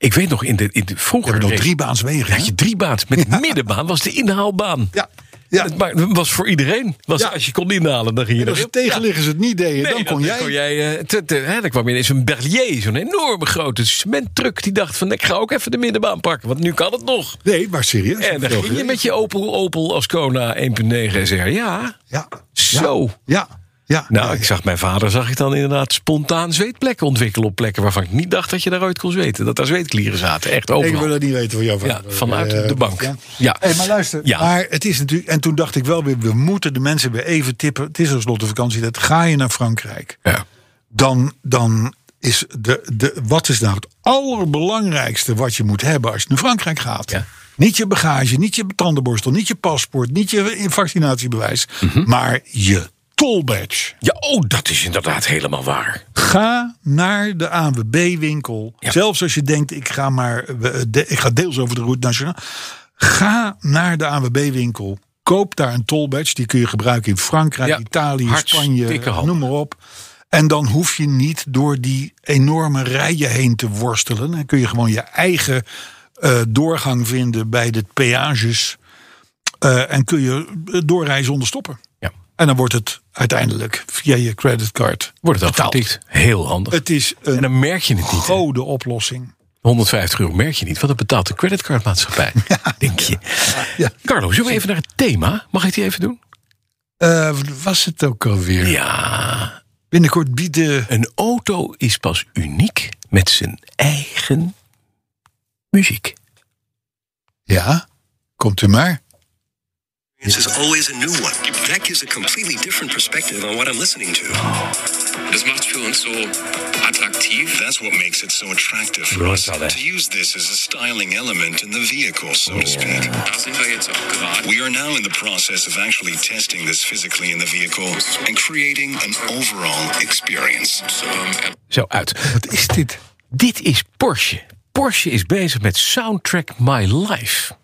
S3: Ik weet nog, in de, in de
S2: je
S3: vroeger
S2: hebt nog
S3: race-
S2: drie baans wegen.
S3: had je drie baans. Met middenbaan was de inhaalbaan.
S2: Ja. Ja.
S3: Het maakt- het was voor iedereen. Was,
S2: Ja.
S3: Als je kon inhalen, dan ging je
S2: En als
S3: erin.
S2: je tegenliggers het niet deden,
S3: Nee,
S2: dan kon jij.
S3: Kon jij eh, te- te- hè, dan kwam je ineens een Berlier, zo'n enorme grote cementtruck. Die dacht van, ik ga ook even de middenbaan pakken, want nu kan het nog.
S2: Nee, maar serieus.
S3: En dan ging je met je Opel, Opel Ascona 1.9 SR. Ja,
S2: Ja.
S3: zo.
S2: Ja. Ja.
S3: Nou,
S2: Ja.
S3: ik zag mijn vader, zag ik dan inderdaad spontaan zweetplekken ontwikkelen op plekken waarvan ik niet dacht dat je daaruit kon zweten. Dat daar zweetklieren zaten, echt
S2: Ik wil
S3: overal.
S2: dat niet weten van jou.
S3: Ja, vanuit de bank.
S2: Eh, Ja.
S3: Ja.
S2: Hey, maar luister,
S3: Ja.
S2: maar het is natuurlijk. En toen dacht ik wel weer, we moeten de mensen weer even tippen. Het is tenslotte vakantie. Dat ga je naar Frankrijk.
S3: Ja.
S2: Dan, dan is de, de. Wat is nou het allerbelangrijkste wat je moet hebben als je naar Frankrijk gaat?
S3: Ja.
S2: Niet je bagage, niet je tandenborstel, niet je paspoort, niet je vaccinatiebewijs, maar je toll badge.
S3: ja, oh, dat is inderdaad helemaal waar.
S2: Ga naar de ANWB-winkel.
S3: Ja.
S2: Zelfs als je denkt, ik ga, maar, eh, de- ik ga deels over de route nationaal. Ga naar de ANWB-winkel. Koop daar een toll badge. Die kun je gebruiken in Frankrijk,
S3: Ja,
S2: Italië, Spanje,
S3: hartstikke handig.
S2: noem maar op. En dan hoef je niet door die enorme rijen heen te worstelen. Dan kun je gewoon je eigen eh, doorgang vinden bij de peages. Eh, en kun je eh, doorrijden zonder stoppen.
S3: Ja.
S2: En dan wordt het uiteindelijk via je creditcard
S3: Wordt het
S2: betaald.
S3: afgetikt. Heel handig.
S2: Het is
S3: en
S2: een
S3: dan merk je het niet. hè.
S2: gode oplossing.
S3: 150 euro merk je niet, want dat betaalt de
S2: [LAUGHS]
S3: creditcardmaatschappij. denk je.
S2: Ja.
S3: Carlo, zullen we even naar het thema? Mag ik die even doen?
S2: Eh, was het ook alweer?
S3: Ja.
S2: Binnenkort bieden.
S3: Een auto is pas uniek met zijn eigen muziek.
S2: Ja, komt u maar.
S5: experience is always a new one. That gives a completely different perspective on what I'm listening to.
S6: Das macht für uns so attraktiv.
S5: That's what makes it so attractive for us. To use this as a styling element in the vehicle, so to speak.
S6: Da sind wir jetzt auch gerade.
S5: We are now in the process of actually testing this physically in the vehicle and creating an overall experience.
S6: Ähm,
S3: Zo uit.
S2: Wat is dit?
S3: Dit is Porsche. Porsche is bezig met Soundtrack My Life.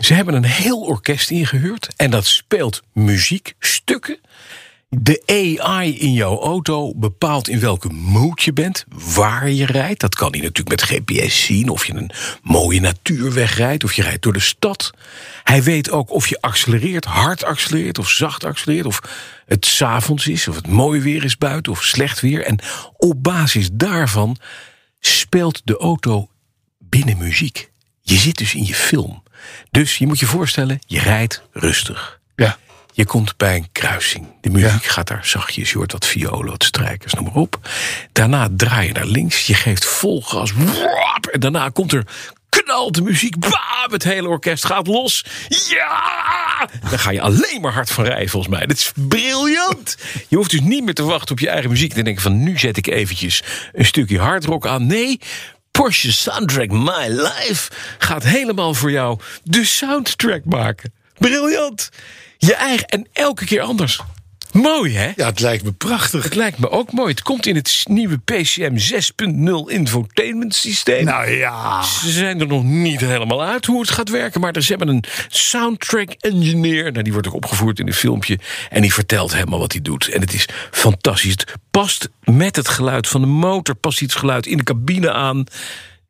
S3: Ze hebben een heel orkest ingehuurd en dat speelt muziekstukken. De AI in jouw auto bepaalt in welke mood je bent, waar je rijdt. Dat kan hij natuurlijk met GPS zien, of je een mooie natuurweg rijdt, of je rijdt door de stad. Hij weet ook of je accelereert, hard accelereert of zacht accelereert, of het 's avonds is, of het mooi weer is buiten, of slecht weer. En op basis daarvan speelt de auto binnen muziek. Je zit dus in je film. Dus je moet je voorstellen, je rijdt rustig.
S2: Ja.
S3: Je komt bij een kruising. De muziek gaat daar zachtjes. Je hoort wat violen, wat strijkers, noem maar op. Daarna draai je naar links. Je geeft vol gas. Wap, en daarna komt er knalt de muziek. Bam, het hele orkest gaat los. Ja! Dan ga je alleen maar hard van rijden, volgens mij. Dat is briljant. Je hoeft dus niet meer te wachten op je eigen muziek. Dan denk je van, nu zet ik eventjes een stukje hardrock aan. Nee, Porsche Soundtrack My Life gaat helemaal voor jou de soundtrack maken. Briljant! Je eigen en elke keer anders. Mooi, hè?
S2: Ja, het lijkt me prachtig.
S3: Het lijkt me ook mooi. Het komt in het nieuwe PCM 6.0 infotainment systeem.
S2: Nou ja.
S3: Ze zijn er nog niet helemaal uit hoe het gaat werken. Maar er- ze hebben een soundtrack engineer. Nou, die wordt ook opgevoerd in een filmpje. En die vertelt helemaal wat hij doet. En het is fantastisch. Het past met het geluid van de motor. Past iets geluid in de cabine aan.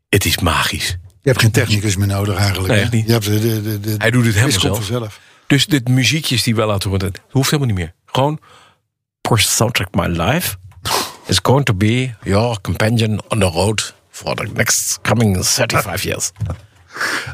S3: Het is magisch.
S2: Je hebt geen technicus meer nodig eigenlijk.
S3: Nee,
S2: hè?
S3: echt niet.
S2: Je hebt de, de, de, de-
S3: Hij doet het helemaal
S2: is gewoon
S3: zelf.
S2: vanzelf.
S3: Dus dit muziekjes die wel laten horen. Dat hoeft helemaal niet meer. Gewoon Porsche Soundtrack My Life. is going to be your companion on the road for the next coming 35 years.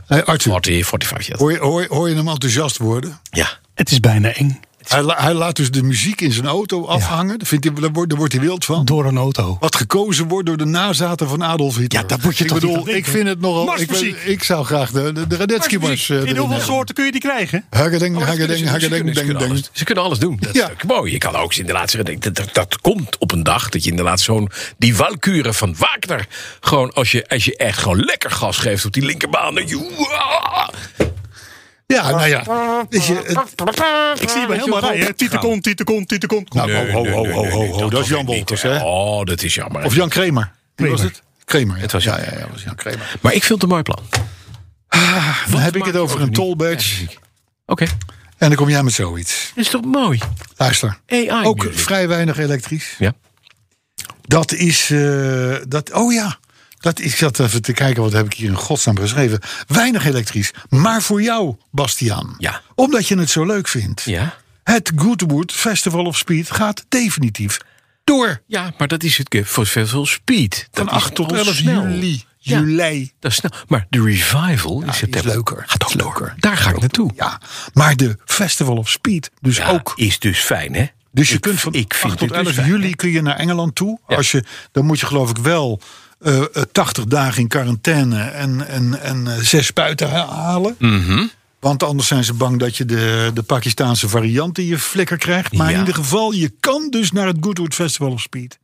S2: Hey, Eh, Arthur,
S3: 40, 45 years.
S2: hoor je, hoor, je- hoor je hem enthousiast worden?
S3: Ja.
S7: Het is bijna eng.
S2: Hij, la- hij laat dus de muziek in zijn auto afhangen. Daar, vindt hij, daar, wordt, daar wordt hij wild van.
S7: Door een auto.
S2: Wat gekozen wordt door de nazaten van Adolf Hitler.
S7: Ja, dat moet je
S2: ik
S7: toch niet
S2: bedoel,
S7: aan
S2: ik
S7: denken.
S2: vind het nogal. Ik,
S7: Marsmuziek.
S2: ben- ik zou graag de, de, de Radetzky-mars. eh,
S7: In
S2: erin
S7: hoeveel
S2: hebben.
S7: soorten kun je die krijgen?
S2: Haggedeng,
S3: Oh, dat kunnen
S2: haggedeng,
S3: ze- ze
S2: haggedeng,
S3: kunnen- ze
S2: deng,
S3: kunnen
S2: deng.
S3: alles- Ze kunnen alles doen. Dat is
S2: Ja.
S3: natuurlijk mooi. Je kan ook inderdaad zeggen, dat, dat, dat komt op een dag. Dat je inderdaad zo'n, die walkuren van Wagner. Gewoon als je, als je echt gewoon lekker gas geeft op die linkerbaan. Dat je,
S2: Ja, nou ja. Weet je, het,
S7: Ik zie je bij helemaal rijden. Tietekon, tietekon, tietekon.
S2: Nou, ho, ho, ho, ho, ho, ho, dat is Jan Wolters,
S3: Bolters,
S2: hè?
S3: Oh, dat is jammer.
S2: Of Jan Kramer. Wie was het? Kramer.
S3: Het was
S2: ja,
S3: Jan
S2: ja, ja, ja, was Jan Kramer.
S3: Maar ik vind het een mooi plan.
S2: Dan heb ik het
S3: maakt
S2: over
S3: ook
S2: een
S3: niet
S2: toll badge.
S3: Oké,
S2: En dan kom jij met zoiets.
S3: dat is toch mooi?
S2: Luister.
S3: AI.
S2: Ook
S3: muziek.
S2: vrij weinig elektrisch.
S3: Ja.
S2: Dat is. eh, dat, oh ja. Dat, ik zat even te kijken, wat heb ik hier in godsnaam geschreven. Weinig elektrisch, maar voor jou, Bastiaan.
S3: Ja.
S2: Omdat je het zo leuk vindt.
S3: Ja.
S2: Het Goodwood Festival of Speed gaat definitief door.
S3: Ja, maar dat is het voor veel speed.
S2: Van
S3: dat
S2: 8 tot 11 juli.
S3: Ja.
S2: Juli.
S3: Dat is snel. Maar de revival in
S2: Die is
S3: september.
S2: leuker. Gaat ook leuker.
S3: Daar ga ik naartoe.
S2: Ja, maar de Festival of Speed dus
S3: Ja,
S2: ook.
S3: Is dus fijn, hè?
S2: Dus je
S3: Ik-
S2: kunt van
S3: ik vind
S2: 8 tot
S3: het dus
S2: 11
S3: fijn,
S2: juli kun je naar Engeland toe.
S3: Ja.
S2: Als je, dan moet je geloof ik wel eh, eh, 80 dagen in quarantaine en, en, en eh, zes spuiten ha- halen.
S3: Mhm.
S2: Want anders zijn ze bang dat je de, de Pakistaanse variant in je flikker krijgt. Maar
S3: Ja.
S2: in ieder geval, je kan dus naar het Goodwood Festival of Speed.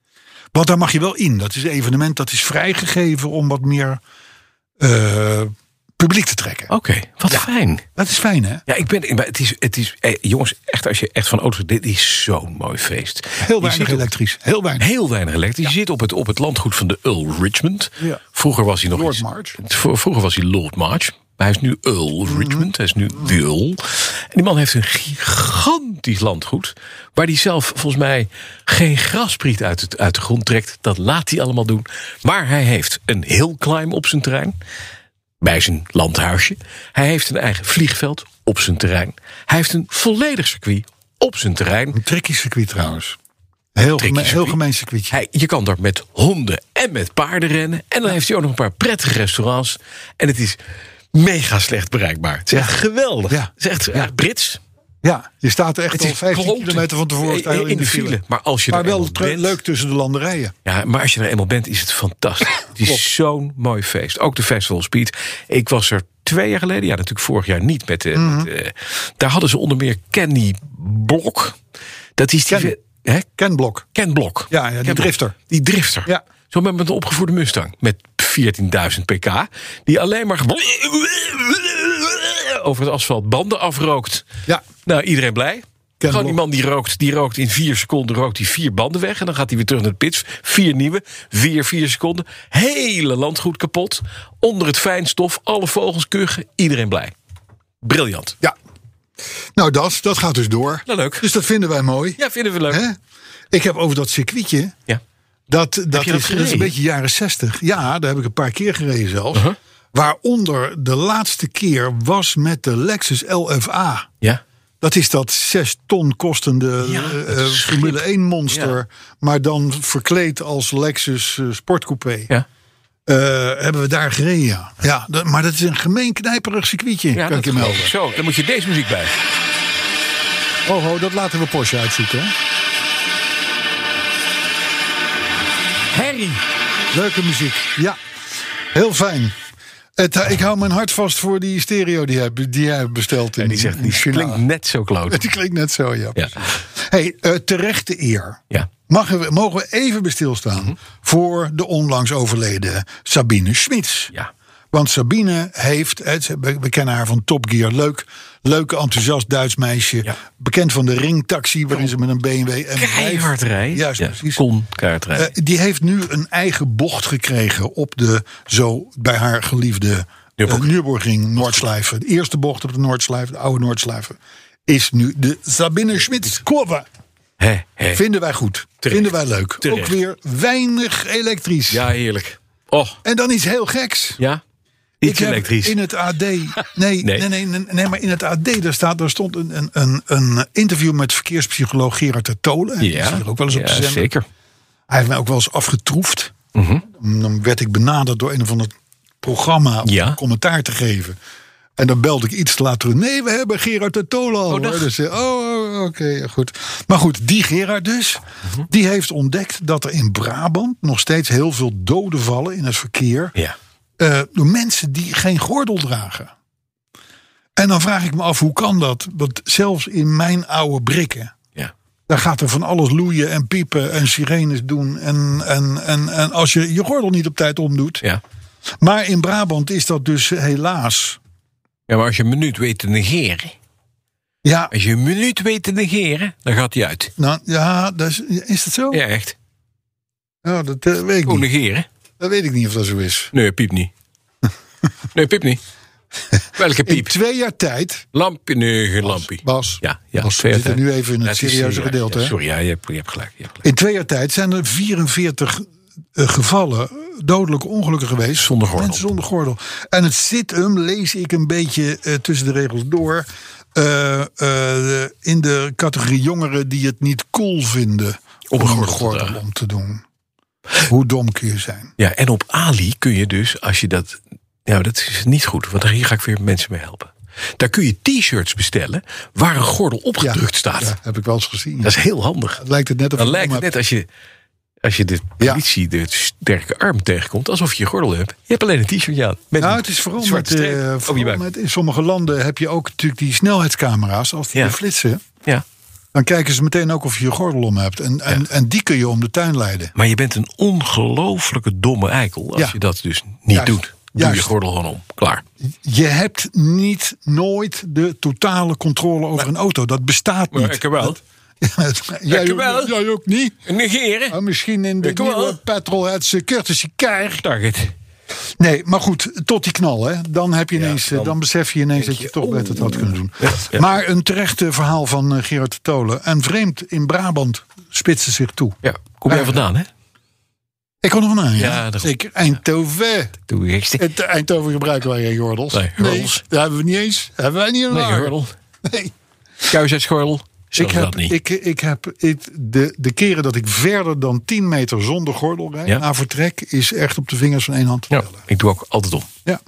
S2: Want daar mag je wel in. Dat is een evenement dat is vrijgegeven om wat meer eh, publiek te trekken.
S3: Oké, wat fijn.
S2: Dat is fijn hè?
S3: Ja, ik ben. Maar het is, het is, eh, jongens, echt als je echt van auto's. Dit is zo'n mooi feest.
S2: Heel
S3: Je
S2: weinig
S3: zit op-
S2: elektrisch. Heel weinig.
S3: Heel weinig elektrisch. Je zit op het, op het landgoed van de Earl Richmond.
S2: Ja.
S3: Vroeger was hij nog
S2: Lord
S3: iets-
S2: March. Mhm.
S3: Vro- Vroeger was hij Lord March. Maar hij is nu Earl Richmond. Hij is nu de Earl. En die man heeft een gigantisch landgoed. Waar hij zelf volgens mij geen graspriet uit, het, uit de grond trekt. Dat laat hij allemaal doen. Maar hij heeft een hillclimb op zijn terrein. Bij zijn landhuisje. Hij heeft een eigen vliegveld op zijn terrein. Hij heeft een volledig circuit op zijn terrein.
S2: Een tricky circuit trouwens. Heel,
S3: Tricky
S2: geme- heel
S3: circuit.
S2: gemeen circuitje.
S3: Hij, je kan daar met honden en met paarden rennen. En dan heeft hij ook nog een paar prettige restaurants. En het is mega slecht bereikbaar. Het is echt geweldig.
S2: Ja.
S3: Het is echt, echt Brits.
S2: Ja, je staat er echt
S3: Het
S2: al
S3: is
S2: 15
S3: kloten.
S2: kilometer van tevoren sta je al
S3: In de file. Maar als je
S2: maar
S3: er
S2: wel
S3: eenmaal
S2: tre-
S3: bent-
S2: leuk tussen de landerijen.
S3: Ja, maar als je er eenmaal bent, is het
S2: [LAUGHS]
S3: fantastisch. Het is zo'n mooi feest. Ook de Festival Speed. Ik was er twee jaar geleden. Ja, natuurlijk vorig jaar niet. Met, eh,
S2: Mhm.
S3: met, eh, daar hadden ze onder meer Kenny Blok. Dat is die...
S2: Ken.
S3: Hè?
S2: Kenblok.
S3: Ken Blok.
S2: Ja, ja, die
S3: Ken Blok.
S2: drifter.
S3: Die drifter.
S2: Ja.
S3: Zo met met een opgevoerde Mustang. Met 14.000 pk. Die alleen maar over het asfalt banden afrookt.
S2: Ja.
S3: Nou, iedereen blij.
S2: Ken
S3: Gewoon
S2: Blok.
S3: die man die rookt, die rookt in vier seconden rookt die vier banden weg. En dan gaat hij weer terug naar de pits. Vier nieuwe, weer vier seconden. Hele landgoed kapot. Onder het fijnstof, alle vogels kuchen. Iedereen blij. Briljant.
S2: Ja. Nou, dat, dat gaat dus door.
S3: Nou, leuk.
S2: Dus dat vinden wij mooi.
S3: Ja, vinden we leuk.
S2: Hè? Ik heb over dat circuitje.
S3: Ja.
S2: Dat, dat,
S3: je dat
S2: is, dat is
S3: gereden? Uh-huh.
S2: een beetje jaren 60. Ja, daar heb ik een paar keer gereden zelfs. Waaronder de laatste keer was met de Lexus LFA.
S3: Ja.
S2: Dat is dat 6 ton kostende
S3: Ja,
S2: eh,
S3: dat
S2: eh,
S3: schip.
S2: Formule 1 monster.
S3: Ja.
S2: Maar dan verkleed als Lexus eh, sportcoupé.
S3: Ja.
S2: Eh, hebben we daar gereden, ja. ja dat- maar dat is een gemeen knijperig circuitje,
S3: Ja,
S2: kan ik je
S3: dat-
S2: melden.
S3: Zo, dan moet je deze muziek bij.
S2: Oh, ho, dat laten we Porsche uitzoeken. hè.
S3: Harry.
S2: Leuke muziek, ja. Heel fijn. Het, eh, ik hou mijn hart vast voor die stereo die hij, die hij besteld. En
S3: Die zegt, die klinkt net zo
S2: [LAUGHS]
S3: kloot.
S2: Die klinkt net zo, ja.
S3: Ja.
S2: Hey, eh, terechte eer.
S3: Ja. Mhm.
S2: Mag we, mogen we even bestilstaan voor de onlangs overleden Sabine Schmitz?
S3: Ja.
S2: Want Sabine heeft, het- we we kennen haar van Top Gear, leuk, leuk enthousiast Duits meisje.
S3: Ja.
S2: Bekend van de ringtaxi, waarin ze met een BMW en
S3: Keihard rijden.
S2: Juist,
S3: Ja,
S2: precies.
S3: Kon keihard rijden.
S2: Eh, die heeft nu een eigen bocht gekregen op de zo bij haar geliefde eh,
S3: Nürburgring.
S2: Nürburgring Noordslijven. De eerste bocht op de Noordslijven, de oude Noordslijven, is nu de Sabine Schmitz Kurve. Eh,
S3: Hè, hè.
S2: Vinden wij goed.
S3: Eh. Terecht.
S2: Vinden wij leuk.
S3: Terecht.
S2: Ook weer weinig elektrisch.
S3: Ja, heerlijk. Oh,
S2: En dan iets heel geks.
S3: ja.
S2: Ik
S3: Iets
S2: heb
S3: elektrisch.
S2: In het
S3: [LAUGHS]
S2: AD. Nee, nee. Nee, nee, nee, maar in het AD daar staat, daar stond een, een, een, een interview met verkeerspsycholoog Gerard de Tolen. Die is hier ook wel eens op
S3: ja,
S2: de zender.
S3: zeker.
S2: Hij heeft mij ook wel eens afgetroefd. Dan werd ik benaderd door een of ander programma om
S3: Ja.
S2: een commentaar te geven. En dan belde ik iets te laat terug. Nee, we hebben Gerard de Tolen al. hoor. Dus, eh, oh, oh, oké, ja, goed. Maar goed, die Gerard dus, die heeft ontdekt dat er in Brabant nog steeds heel veel doden vallen in het verkeer.
S3: Ja.
S2: Eh, door mensen die geen gordel dragen. En dan vraag ik me af, hoe kan dat? Want zelfs in mijn oude brikken,
S3: ja.
S2: daar gaat er van alles loeien en piepen en sirenes doen. En, en, en, en als je je gordel niet op tijd omdoet.
S3: Ja.
S2: Maar in Brabant is dat dus helaas.
S3: Ja, maar als je een minuut weet te negeren.
S2: Ja,
S3: Als je een minuut weet te negeren, dan gaat hij uit.
S2: nou, ja dat is, is dat zo?
S3: Ja, echt.
S2: Nou, dat eh, weet ik
S3: Gewoon
S2: niet.
S3: negeren.
S2: Dat weet ik niet of dat zo is.
S3: Nee, piep
S2: [LAUGHS]
S3: niet. Nee, piep niet. Welke
S2: In
S3: piep?
S2: twee jaar tijd,
S3: Lampje? Nee, geen lampje.
S2: Bas,
S3: Ja, ja.
S2: Bas, we zitten nu even in het
S3: Ja, is
S2: serieuze
S3: serieus.
S2: gedeelte.
S3: Ja,
S2: hè?
S3: sorry, ja, je, hebt, je hebt gelijk. Je hebt gelijk.
S2: In twee jaar tijd zijn er 44 eh, gevallen, dodelijke ongelukken geweest.
S3: Zonder gordel.
S2: Mensen zonder gordel. En het zit hem, lees ik een beetje eh, tussen de regels door. eh, eh, in de categorie jongeren die het niet cool vinden
S3: Om
S2: om
S3: een gordel
S2: een
S3: te
S2: gordel
S3: dragen.
S2: om te doen. Hoe dom kun je zijn?
S3: Ja, en op Ali kun je dus, als je dat. Nou, dat is niet goed, want hier ga ik weer mensen mee helpen. Daar kun je t-shirts bestellen waar een gordel opgedrukt staat.
S2: Ja, heb ik wel eens gezien.
S3: Dat is heel handig.
S2: Het lijkt het net of
S3: Dan
S2: je
S3: lijkt
S2: dom
S3: het
S2: hebt.
S3: net als je, als je de
S2: Ja.
S3: politie de sterke arm tegenkomt, alsof je je gordel hebt. Je hebt alleen een t-shirtje aan. Met
S2: Nou,
S3: een
S2: het is vooral,
S3: zwarte
S2: met, eh,
S3: streep Oh, over je
S2: vooral
S3: buik.
S2: met- in sommige landen heb je ook natuurlijk die snelheidscamera's. Als die
S3: Ja.
S2: weer flitsen,
S3: Ja.
S2: dan kijken ze meteen ook of je je gordel om hebt. En, en, en die kun je om de tuin leiden.
S3: Maar je bent een ongelooflijke domme eikel als
S2: Ja.
S3: je dat dus niet
S2: Juist.
S3: doet. Doe
S2: Juist.
S3: je gordel gewoon om. Klaar.
S2: Je hebt niet nooit de totale controle over een auto. Dat bestaat niet. Dat- [LAUGHS] jij,
S3: Ik
S2: ook,
S3: wel.
S2: jij ook niet.
S3: Negeren.
S2: Maar misschien in de
S3: Ik wel.
S2: nieuwe petrolheads courtesy car.
S3: Target.
S2: Nee, maar goed, tot die knal. Hè. Dan, heb je ineens, eh,
S3: dan oh.
S2: dan, besef je ineens dat je, toch net het had kunnen doen. Maar een terechte verhaal van eh, Gerard de Tolen. En vreemd in Brabant spitste zich toe.
S3: Ja, kom jij vandaan, hè?
S2: Ik kon er vandaan, ja.
S3: Ja, dat is goed.
S2: Zeker Eindhoven.
S3: Doe je eerst.
S2: Het Eindhoven gebruiken wij geen gordels.
S3: Nee, gordels.
S2: dat hebben we niet eens. Hebben wij niet een
S3: Nee,
S2: lager.
S3: gordel.
S2: Nee.
S3: Kuisheidsgordel. Zo
S2: Ik
S3: is
S2: heb,
S3: dat niet.
S2: ik, ik heb ik, de, de keren dat ik verder dan 10 meter zonder gordel rijd...
S3: Ja.
S2: na vertrek, is echt op de vingers van één hand te
S3: Ja,
S2: tellen.
S3: ik doe ook altijd om.
S2: Ja.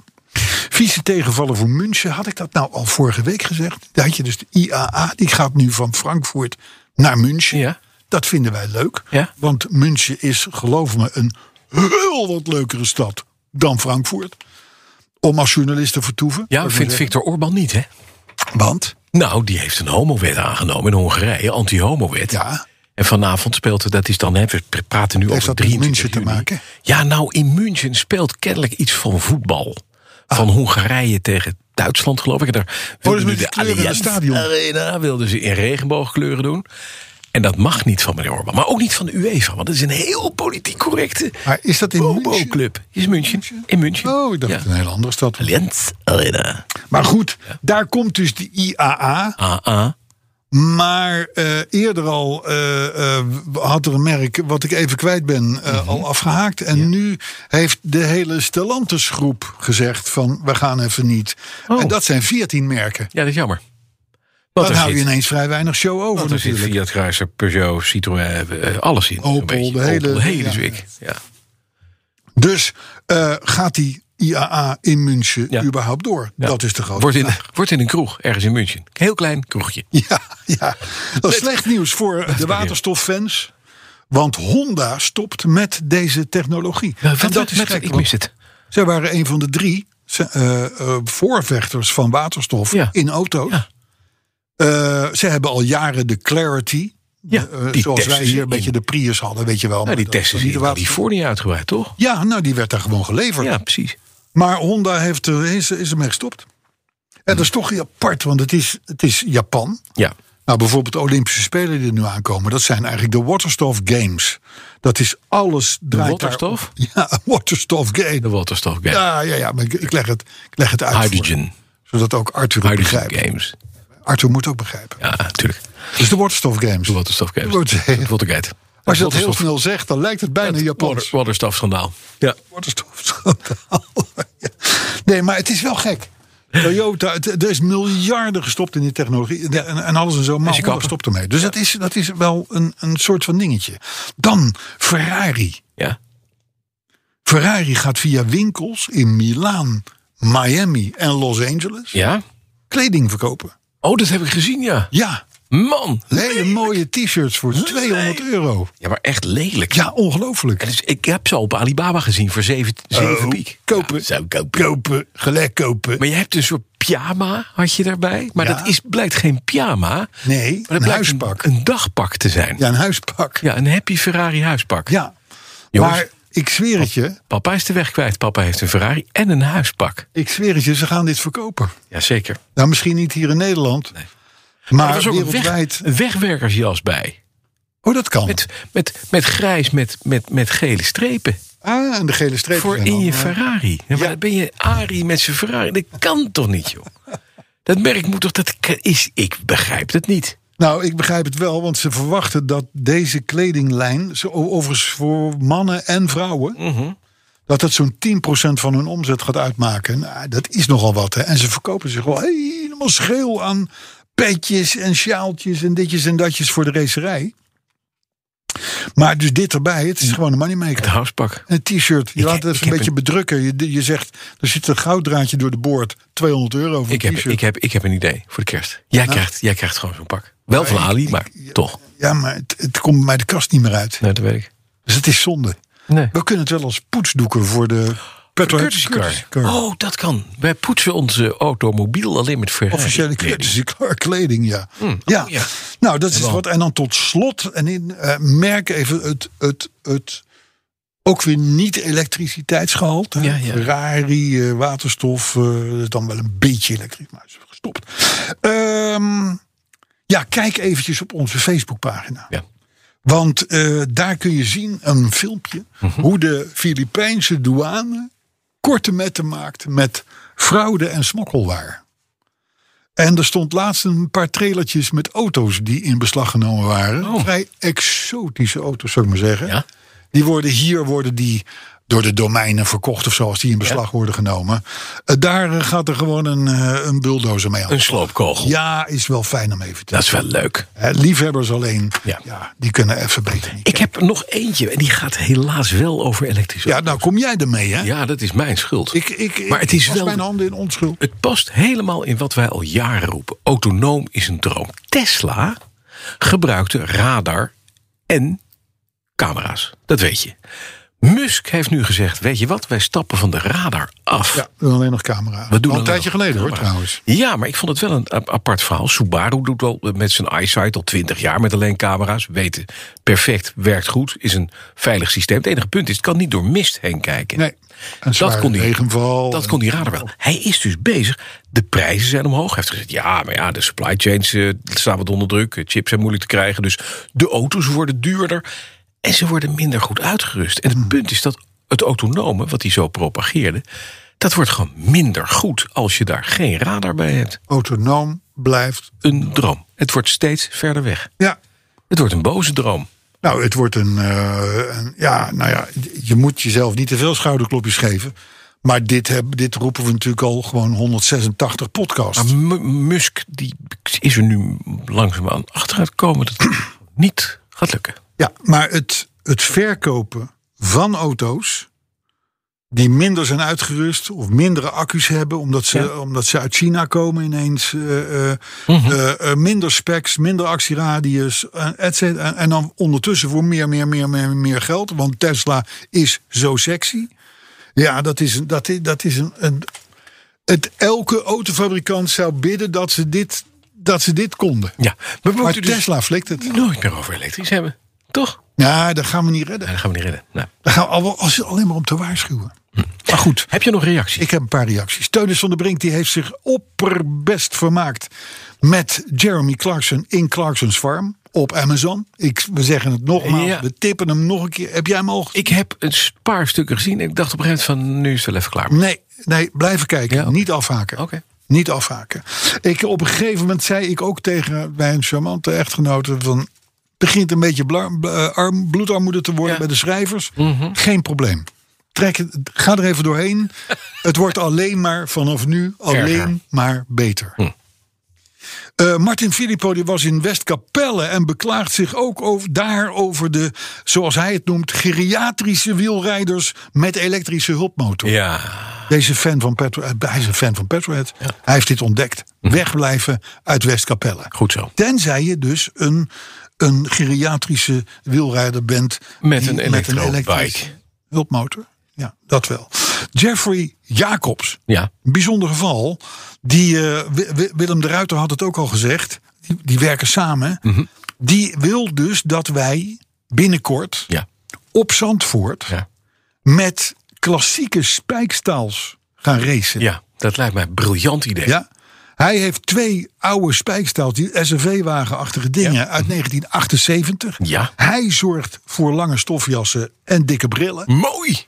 S2: Vieze tegenvallen voor München. Had ik dat nou al vorige week gezegd? Daar had je dus de IAA. Die gaat nu van Frankfurt naar München.
S3: Ja.
S2: Dat vinden wij leuk.
S3: Ja.
S2: Want München is, geloof me, een heel wat leukere stad dan Frankfurt. Om als journalist te vertoeven.
S3: Ja, vindt Viktor Orban niet, hè?
S2: Want,
S3: Nou, die heeft een homowet aangenomen in Hongarije, anti-homowet.
S2: ja,
S3: En vanavond speelt, dat is dan, hè, we praten nu
S2: heeft
S3: over
S2: dat met
S3: 23
S2: München te
S3: juni.
S2: maken?
S3: Ja, nou, in München speelt kennelijk iets van voetbal. Van Hongarije tegen Duitsland, geloof ik. En daar
S2: Ah. Oh, dat is
S3: wilden
S2: met die kleuren in het
S3: Allianz
S2: stadion.
S3: Arena wilden ze in regenboogkleuren doen. En dat mag niet van meneer Orban. Maar ook niet van de UEFA, want het is een heel politiek correcte
S2: Maar is dat in München?
S3: club Is München. In München.
S2: Oh, ik dacht
S3: Ja.
S2: een hele andere stad.
S3: Allianz Arena.
S2: Maar goed, daar komt dus de IAA.
S3: AA.
S2: Maar eh, eerder al eh, eh, had er een merk wat ik even kwijt ben eh,
S3: Mhm.
S2: al afgehaakt. En nu heeft de hele Stellantis groep gezegd van we gaan even niet.
S3: Oh.
S2: En dat zijn 14 merken.
S3: Ja, dat is jammer.
S2: Dan
S3: Want er
S2: hou je
S3: zit-
S2: ineens vrij weinig show over
S3: Want er zit
S2: natuurlijk.
S3: Fiat, Chrysler, Peugeot, Citroën, eh, alles in. zo'n
S2: Opel,
S3: beetje.
S2: de hele-
S3: Opel, de hele
S2: ja.
S3: zwik. Ja.
S2: Dus eh, gaat die IAA in München
S3: Ja.
S2: überhaupt door?
S3: Ja.
S2: Dat is de grote
S3: Wordt in,
S2: vraag.
S3: wordt in een kroeg, ergens in München. Heel klein kroegje.
S2: [LAUGHS] Ja, ja, dat is slecht nieuws voor de waterstoffans. Want Honda stopt met deze technologie.
S3: Ja,
S2: en dat
S3: met-
S2: is
S3: met-
S2: gek,
S3: ik
S2: want
S3: mis het.
S2: Zij waren een van de drie ze- eh, eh, voorvechters van waterstof
S3: Ja.
S2: in auto's.
S3: Ja.
S2: Eh, ze hebben al jaren de Clarity.
S3: Ja,
S2: eh,
S3: die
S2: zoals wij
S3: testen ze
S2: hier een beetje
S3: in-
S2: de Prius hadden, weet je wel.
S3: Nou,
S2: maar
S3: die
S2: dat
S3: testen
S2: was
S3: zijn
S2: niet de
S3: in
S2: waterstof.
S3: Californië uitgebreid, toch?
S2: Ja, nou, die werd daar gewoon geleverd.
S3: Ja, precies.
S2: Maar Honda heeft, er- is, is ermee gestopt. En dat is toch apart, want het is, het is Japan.
S3: Ja.
S2: Nou, bijvoorbeeld de Olympische Spelen die er nu aankomen, dat zijn eigenlijk de waterstof games. Dat is alles draait daar-
S3: waterstof?
S2: Ja, waterstof
S3: De
S2: game.
S3: waterstof game.
S2: Ja, ja, ja, maar ik, ik leg, het, ik leg het uit. voor hem,
S3: Hydrogen.
S2: zodat ook Arthur het
S3: Hydrogen
S2: begrijpt.
S3: games.
S2: Arthur moet ook begrijpen.
S3: Ja, natuurlijk.
S2: Dus de waterstof games.
S3: De waterstof games.
S2: Wordt-
S3: Het watergate.
S2: Als je dat heel
S3: Waterstof-
S2: snel zegt, dan lijkt het bijna
S3: het
S2: Japans.
S3: water- Waterstofschandaal. Ja.
S2: Waterstofschandaal. [LAUGHS] Ja. nee, maar het is wel gek. Toyota, het- er is miljarden gestopt in die technologie. En, en alles en zo. Maar
S3: je
S2: Honda
S3: kappen.
S2: stopt ermee. Dus dat, is, dat is wel een, een soort van dingetje. Dan Ferrari.
S3: Ja.
S2: Ferrari gaat via winkels in Milaan, Miami en Los Angeles
S3: Ja.
S2: kleding verkopen.
S3: Oh, dat heb ik gezien, ja.
S2: Ja,
S3: Man.
S2: hele mooie t-shirts voor 200 euro.
S3: Ja, maar echt lelijk.
S2: Ja, ongelooflijk.
S3: En dus, ik heb ze al op Alibaba gezien voor 7
S2: Oh,
S3: piek.
S2: kopen.
S3: Ja, zou kopen.
S2: Kopen, gelijk kopen.
S3: Maar je hebt een soort pyjama, had je daarbij. Maar
S2: Ja.
S3: dat is, blijkt geen pyjama.
S2: Nee,
S3: maar dat
S2: een
S3: blijkt
S2: huispak.
S3: Een, een dagpak te zijn. Ja.
S2: Ja, een huispak.
S3: een happy Ferrari huispak.
S2: Ja,
S3: Jongens.
S2: maar ik zweer het je.
S3: Papa is de weg kwijt. Papa heeft een Ferrari en een huispak.
S2: Ik zweer het je, ze gaan dit verkopen.
S3: Jazeker.
S2: Nou, misschien niet hier in Nederland.
S3: Nee.
S2: Maar,
S3: er was ook een,
S2: wereldwijd.
S3: weg, een wegwerkersjas bij.
S2: Oh, dat kan.
S3: Met, met, met grijs, met, met, met gele strepen.
S2: Ah, en de gele streep.
S3: Voor in je Ferrari. Ja, maar
S2: Ja.
S3: dan ben je Ari met zijn
S2: [LAUGHS]
S3: Ferrari. Dat kan toch niet, joh. Dat merk moet toch... Dat is, ik begrijp het niet.
S2: Nou, ik begrijp het wel, want ze verwachten dat deze kledinglijn, zo- overigens voor mannen en vrouwen,
S3: Mhm.
S2: dat dat zo'n 10% van hun omzet gaat uitmaken. Nou, dat is nogal wat. Hè? En ze verkopen zich wel helemaal scheel aan petjes en sjaaltjes en ditjes en datjes voor de racerij. Maar dus dit erbij, het is gewoon een moneymaker.
S3: Het huispak.
S2: Een t-shirt, je
S3: Mm. Ik-
S2: laat het
S3: ik
S2: even
S3: heb
S2: een beetje
S3: een-
S2: bedrukken. Je, je zegt, er zit een gouddraadje door de boord, 200 euro voor
S3: Ik heb,
S2: een
S3: ik,
S2: t-shirt.
S3: heb, ik heb een idee voor de kerst. Jij,
S2: Nou.
S3: krijgt, jij krijgt gewoon zo'n pak. Wel van Ali, maar toch.
S2: Ja, maar het, het komt bij de kast niet meer uit.
S3: Nee, dat weet ik.
S2: Dus het is zonde.
S3: Nee.
S2: We kunnen het wel als poetsdoeken voor de petrolhead
S3: Courtesy car.
S2: courtesy car.
S3: Oh, dat kan. Wij poetsen onze automobiel alleen met Ferrari.
S2: Officiële courtesy car kleding, ja. ja.
S3: Hmm, oh, ja.
S2: Nou, dat is wat. En dan tot slot, en in, eh, merk even het, het, het ook weer niet elektriciteitsgehalte. hè.
S3: Ja, ja.
S2: Ferrari, eh, waterstof, eh, is dan wel een beetje elektrisch, maar is gestopt. Ehm, ja, kijk eventjes op onze Facebookpagina.
S3: Ja.
S2: Want eh, daar kun je zien een filmpje
S3: Mhm.
S2: hoe de Filipijnse douane korte metten maakt met fraude en smokkelwaar. En er stond laatst een paar trailertjes met auto's die in beslag genomen waren. Vrij exotische auto's, zou ik maar zeggen.
S3: Oh. Ja.
S2: Die worden hier worden die door de domeinen verkocht of zo, als die in beslag worden genomen. Eh, daar eh, gaat er gewoon een, eh, een bulldozer mee aan.
S3: Een sloopkogel.
S2: Ja, is wel fijn om even te
S3: Dat is wel leuk.
S2: Hè, liefhebbers alleen, ja.
S3: Ja.
S2: die kunnen even beter niet.
S3: Ik heb er nog eentje. En die gaat helaas wel over elektrisch.
S2: Ja, nou kom jij ermee, hè?
S3: Ja, dat is mijn schuld.
S2: Ik, ik, ik
S3: maar het is
S2: was
S3: wel...
S2: mijn handen in onschuld.
S3: Het past helemaal in wat wij al jaren roepen. Autonoom is een droom. Tesla gebruikte radar en camera's. Dat weet je. Musk heeft nu gezegd, weet je wat, wij stappen van de radar af.
S2: Ja, dan alleen nog camera.
S3: We doen
S2: Al een
S3: alleen
S2: tijdje
S3: nog
S2: geleden, hoor,
S3: camera.
S2: trouwens.
S3: Ja, maar ik vond het wel een a- apart verhaal. Subaru doet wel met zijn eyesight al 20 jaar met alleen camera's. Weten, perfect, werkt goed, is een veilig systeem. Het enige punt is, het kan niet door mist heen kijken.
S2: Nee, en zware
S3: kon die-
S2: regenval.
S3: Dat kon die radar wel. Hij is dus bezig. De prijzen zijn omhoog. Hij heeft gezegd, ja, maar ja, de supply chains eh, staan wat onder druk. Eh, Chips zijn moeilijk te krijgen. Dus de auto's worden duurder. En ze worden minder goed uitgerust. En
S2: Hmm.
S3: het punt is dat het autonome, wat hij zo propageerde... dat wordt gewoon minder goed als je daar geen radar bij hebt.
S2: Autonoom blijft.
S3: Een droom. Het wordt steeds verder weg.
S2: Ja,
S3: Het wordt een boze droom.
S2: nou, het wordt een, eh, een- Ja, nou ja, je moet jezelf niet te veel schouderklopjes geven. Maar dit, heb, dit roepen we natuurlijk al gewoon 186 podcasts.
S3: Maar Mu- Musk die is er nu langzaamaan achteruit komen... dat het niet gaat lukken.
S2: Ja, maar het, het verkopen van auto's die minder zijn uitgerust of mindere accu's hebben, omdat ze, omdat ze uit China komen ineens, eh, eh, eh, eh, minder specs, minder actieradius, eh, et cetera. en, en dan ondertussen voor meer, meer, meer, meer, meer geld, want Tesla is zo sexy. Ja, dat is, een- dat is, dat is een, een, het, elke autofabrikant zou bidden dat ze dit, dat ze dit konden.
S3: Ja, we moeten
S2: Maar
S3: dus-
S2: Tesla flikt het.
S3: nooit meer over elektrisch hebben. Toch?
S2: Ja, dat gaan we niet redden.
S3: Nee, dat gaan we niet redden. Nou.
S2: Daar gaan we al wel- als alleen maar om te waarschuwen. Maar goed,
S3: Heb je nog reacties?
S2: ik heb een paar reacties. Teunis van der Brink die heeft zich opperbest vermaakt met Jeremy Clarkson in Clarkson's Farm op Amazon. Ik, we zeggen het nogmaals,
S3: Ja.
S2: we tippen hem nog een keer. Heb jij hem al gezien?
S3: Ik heb een paar stukken gezien en ik dacht op een gegeven moment van nu is het wel even klaar.
S2: Nee, nee, blijven kijken.
S3: Ja, oké.
S2: Niet afhaken.
S3: Oké.
S2: Niet afhaken. Ik, op een gegeven moment zei ik ook tegen mijn charmante echtgenote van... het begint een beetje bla- eh, arm, bloedarmoede te worden
S3: Ja. Mhm.
S2: bij de schrijvers. Geen probleem. Trek, het- ga er even
S3: [LAUGHS]
S2: doorheen. het wordt alleen maar vanaf nu alleen
S3: Erger. Hm.
S2: maar beter. Eh, Martin Filippo die was in Westkapelle en beklaagt zich ook over, daar over de, zoals hij het noemt, geriatrische wielrijders met elektrische hulpmotor.
S3: Ja,
S2: Deze fan van Petrohead, hij is een fan van Petrohead. Hij heeft dit ontdekt.
S3: Mhm.
S2: Wegblijven uit Westkapelle.
S3: goed zo.
S2: Tenzij je dus een, een geriatrische wielrijder bent.
S3: Met
S2: die-
S3: een elektrobike.
S2: elektrische hulpmotor. Ja, dat wel. Jeffrey Jacobs.
S3: Ja.
S2: Een bijzonder geval. Die, eh, Wi- Wi- Willem de Ruiter had het ook al gezegd. Die, die werken samen.
S3: Mhm.
S2: Die wil dus dat wij binnenkort
S3: Ja.
S2: op Zandvoort
S3: Ja.
S2: met klassieke spijkstaals gaan racen.
S3: ja, dat lijkt mij een briljant idee.
S2: Ja? Hij heeft twee oude spijkstaals, die SRV-wagenachtige dingen uit 1978.
S3: Ja.
S2: Hij zorgt voor lange stofjassen en dikke brillen.
S3: Mooi!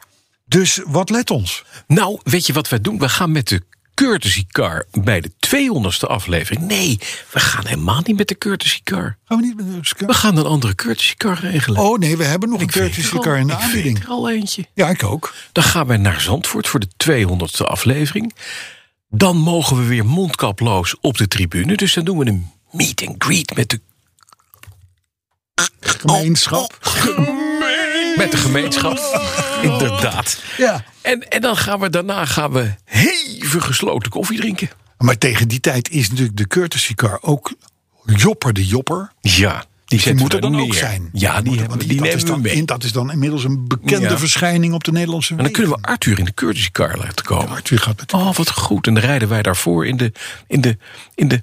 S2: Dus wat let ons?
S3: Nou, weet je wat wij doen? We gaan met de courtesy car bij de 200ste aflevering. Nee, we gaan helemaal niet met de courtesy car.
S2: Gaan we niet met de
S3: We
S2: car?
S3: gaan een andere courtesy car regelen.
S2: Oh nee, we hebben nog een
S3: Ik weet
S2: courtesy
S3: er al-
S2: car in de
S3: ik weet
S2: aanbieding.
S3: er al eentje.
S2: Ja, ik ook.
S3: Dan gaan wij naar Zandvoort voor de 200ste aflevering. Dan mogen we weer mondkaploos op de tribune. Dus dan doen we een meet and greet met de,
S2: Gemeenschap.
S3: met de gemeenschap.
S2: [LAUGHS]
S3: Inderdaad.
S2: Ja.
S3: En, en dan gaan we daarna gaan we hevig gesloten koffie drinken.
S2: Maar tegen die tijd is natuurlijk de courtesy car ook jopper de jopper.
S3: Ja, die,
S2: Die
S3: zetten
S2: moet
S3: we
S2: er dan ook
S3: neer.
S2: zijn.
S3: Ja, die,
S2: moet er-
S3: hebben,
S2: want
S3: die
S2: dat is
S3: nemen we
S2: dan,
S3: mee.
S2: in- Dat is dan inmiddels een bekende
S3: Ja.
S2: verschijning op de Nederlandse
S3: En dan
S2: wegen.
S3: kunnen we Arthur in de courtesy car laten komen.
S2: Arthur gaat met
S3: Oh, wat goed. En dan rijden wij daarvoor in de, in de, in de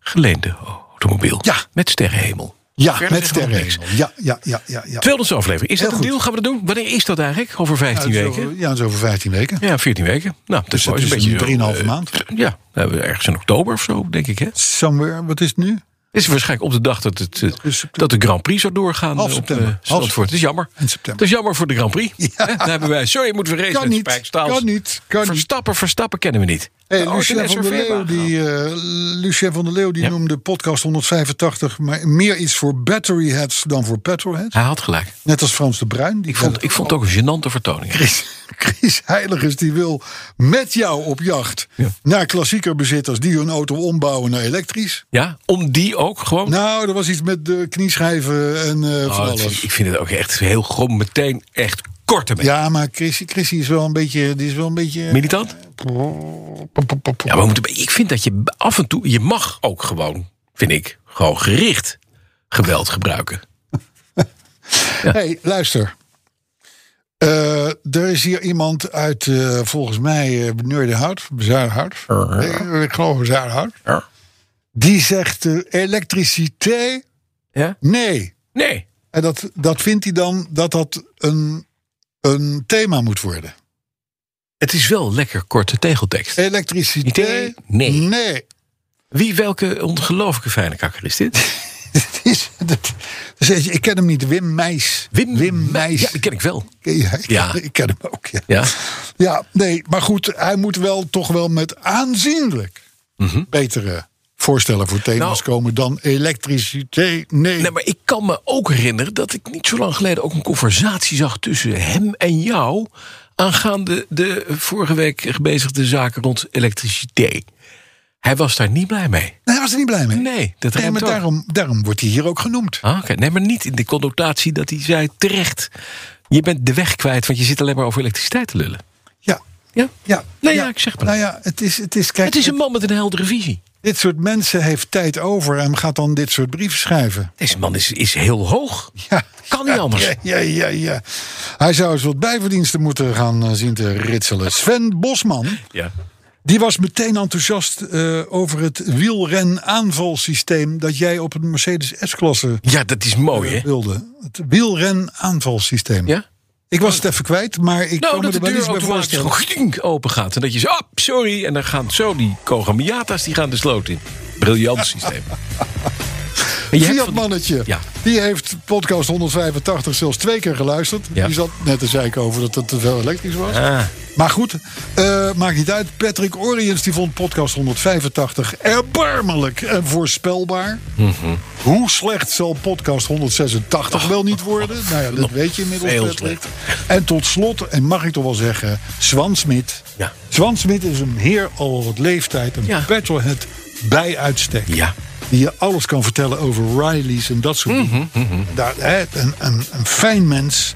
S3: geleende automobiel.
S2: Ja.
S3: Met sterrenhemel.
S2: Ja,
S3: Verder
S2: met
S3: zeggen we nog niks.
S2: sterren. Ja, ja, ja, ja. ja.
S3: 200 aflevering. Is dat
S2: Heel
S3: een
S2: goed.
S3: deal? Gaan we dat doen? Wanneer is dat eigenlijk? Over 15
S2: Ja, dat is
S3: weken?
S2: over- Ja, dat is over 15 weken.
S3: Ja, 14 weken. Nou, dat
S2: Dus
S3: is wel
S2: dat
S3: eens
S2: is
S3: een beetje...
S2: een 3,5
S3: eh,
S2: maand.
S3: Ja, dan hebben we ergens in oktober of zo, denk ik. Hè?
S2: Somewhere, wat is het nu?
S3: Is waarschijnlijk op de dag dat, het, eh,
S2: is september.
S3: dat de Grand Prix zou doorgaan.
S2: Half
S3: eh, op, eh,
S2: september. Half
S3: Zandvoort.
S2: september.
S3: Dat is jammer.
S2: In september.
S3: Dat is jammer voor de Grand Prix.
S2: [LAUGHS] Ja.
S3: Hè? Dan hebben wij, sorry, moeten we racen
S2: Kan
S3: met
S2: niet,
S3: Spijkstaals.
S2: kan niet, kan niet.
S3: Verstappen, Verstappen kennen we niet.
S2: Hey,
S3: Oh,
S2: Lucien,
S3: net
S2: van
S3: zo'n
S2: der Leeuw,
S3: veerwagen had.
S2: die, eh, Lucien van der Leeuw die
S3: Ja.
S2: noemde podcast 185 maar meer iets voor battery heads dan voor petrolheads.
S3: Hij had gelijk.
S2: Net als Frans de Bruin. Die
S3: Ik vond, ik vond het ook een gênante vertoning.
S2: Chris, Chris Heiligers die wil met jou op jacht
S3: Ja.
S2: naar klassiekerbezitters die hun auto ombouwen naar elektrisch.
S3: Ja, om die ook gewoon...
S2: Nou, er was iets met de knieschijven en eh,
S3: Oh,
S2: van alles.
S3: dat vind- ik vind het ook echt heel gewoon meteen echt kort ermee.
S2: Ja, maar Chris, Chris is wel een beetje. Die is wel een beetje
S3: Militant? Ja, maar we moeten, ik vind dat je af en toe... Je mag ook gewoon, vind ik, gewoon gericht geweld gebruiken.
S2: hey, luister. Eh, er is hier iemand uit, eh, volgens mij, eh Neurdenhout, Zuidhout. Nee, ik geloof Zuidhout.
S3: Ja.
S2: Die zegt eh, elektriciteit?
S3: Ja?
S2: Nee.
S3: Nee.
S2: En dat, dat vindt hij dan dat dat een, een thema moet worden.
S3: Het is wel lekker korte tegeltekst.
S2: Elektriciteit?
S3: Nee.
S2: Nee. [LAUGHS]
S3: Wie, welke ongelooflijke fijne kakker is dit?
S2: Het is, dat, dus weet je, ik ken hem niet, Wim Meis. Meijs.
S3: Ja, die ken ik wel.
S2: Ja, ik,
S3: Ja.
S2: ik ken hem ook. Ja.
S3: Ja.
S2: Ja, nee, maar goed, hij moet wel toch wel met aanzienlijk betere voorstellen voor thema's
S3: Mhm. Nou.
S2: komen dan elektriciteit. Nee.
S3: Nee, maar ik kan me ook herinneren dat ik niet zo lang geleden ook een conversatie zag tussen hem en jou. aangaande de vorige week gebezigde zaken rond elektriciteit. Hij was daar niet blij mee.
S2: Nee, hij was er niet blij mee.
S3: Nee, dat
S2: Nee,
S3: rijmt
S2: maar
S3: ook.
S2: daarom, daarom wordt hij hier ook genoemd.
S3: Ah, oké. Nee, maar niet in de connotatie dat hij zei terecht. Je bent de weg kwijt, want je zit alleen maar over elektriciteit te lullen.
S2: Ja.
S3: Ja?
S2: Ja,
S3: Nee, ja, ik zeg maar.
S2: Nou ja, het is, het is, kijk,
S3: Het is een man met een heldere visie.
S2: dit soort mensen heeft tijd over en gaat dan dit soort brieven schrijven.
S3: Deze man is, is heel hoog.
S2: Ja.
S3: Kan niet anders.
S2: Ja, ja, ja, ja. Hij zou eens wat bijverdiensten moeten gaan eh, zien te ritselen. Sven Bosman.
S3: Ja.
S2: Die was meteen enthousiast eh, over het wielren-aanvalsysteem dat jij op een Mercedes S-klasse
S3: ja, dat is mooi, hè?
S2: wilde. Het wielren-aanvalsysteem.
S3: Ja?
S2: Ik was het even kwijt, maar ik
S3: Nou,
S2: kan me
S3: dat
S2: er
S3: de
S2: wel
S3: deur
S2: iets bij
S3: automatisch
S2: voorstellen.
S3: gewoon gdink open gaat. En dat je zegt, ah, sorry. En dan gaan zo die Kogamiata's die gaan de sloot in.
S2: [LAUGHS]
S3: Briljant systeem. En je hebt
S2: Fiat
S3: van-
S2: mannetje,
S3: Ja.
S2: die heeft podcast 185 zelfs twee keer geluisterd.
S3: Ja.
S2: Die zat net te zeiken over dat het te veel elektrisch was.
S3: Ah.
S2: Maar goed, eh, maakt niet uit. Patrick Oriens die vond podcast 185 erbarmelijk en voorspelbaar.
S3: Mhm.
S2: Hoe slecht zal podcast 186 wel niet
S3: [LAUGHS]
S2: worden? Nou ja, dat weet je inmiddels.
S3: Veel
S2: Patrick. En tot slot, en mag ik toch wel zeggen, Swan Smit.
S3: Ja.
S2: Swan Smit is een heer al wat leeftijd, een
S3: Ja.
S2: petrolhead bij uitstek.
S3: Ja.
S2: Die je alles kan vertellen over Riley's en dat soort dingen.
S3: Mhm,
S2: Daar, hè, een, een, een fijn mens.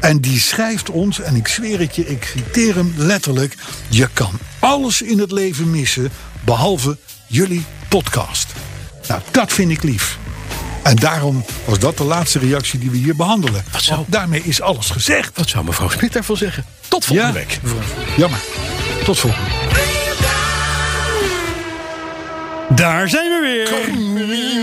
S2: En die schrijft ons, en ik zweer het je, ik citeer hem letterlijk. Je kan alles in het leven missen, behalve jullie podcast. Nou, dat vind ik lief. En daarom was dat de laatste reactie die we hier behandelen.
S3: zo.
S2: Want daarmee is alles gezegd.
S3: Wat zou mevrouw Smit daarvan zeggen? Tot volgende week.
S2: Jammer. Tot volgende
S7: Daar zijn we weer.
S2: week.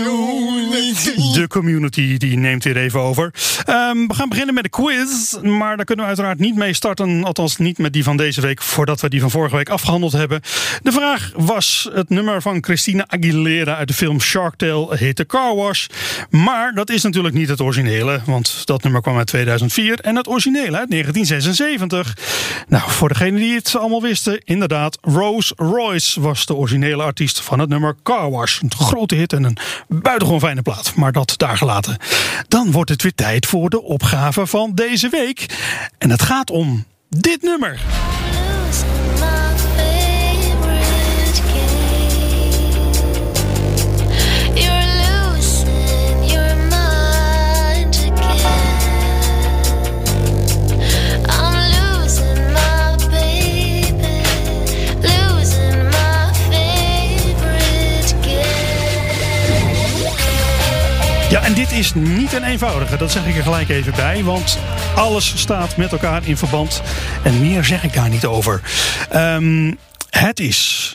S7: De community die neemt weer even over. Ehm, we gaan beginnen met de quiz. Maar daar kunnen we uiteraard niet mee starten. Althans, niet met die van deze week. Voordat we die van vorige week afgehandeld hebben. De vraag was: het nummer van Christina Aguilera uit de film Shark Tale heette Car Wash. Maar dat is natuurlijk niet het originele. Want dat nummer kwam uit 2004. En het originele uit 1976. Nou, voor degene die het allemaal wisten. Inderdaad, Rose Royce was de originele artiest van het nummer Car Wash. Een grote hit en een buitengewoon fijne plaat, maar dat daar gelaten. Dan wordt het weer tijd voor de opgave van deze week. En het gaat om dit nummer. Ja, en dit is niet een eenvoudige, dat zeg ik er gelijk even bij. Want alles staat met elkaar in verband. En meer zeg ik daar niet over. Ehm, het is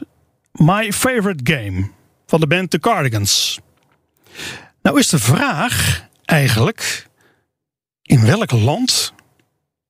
S7: My Favorite Game van de band The Cardigans. Nou is de vraag eigenlijk: in welk land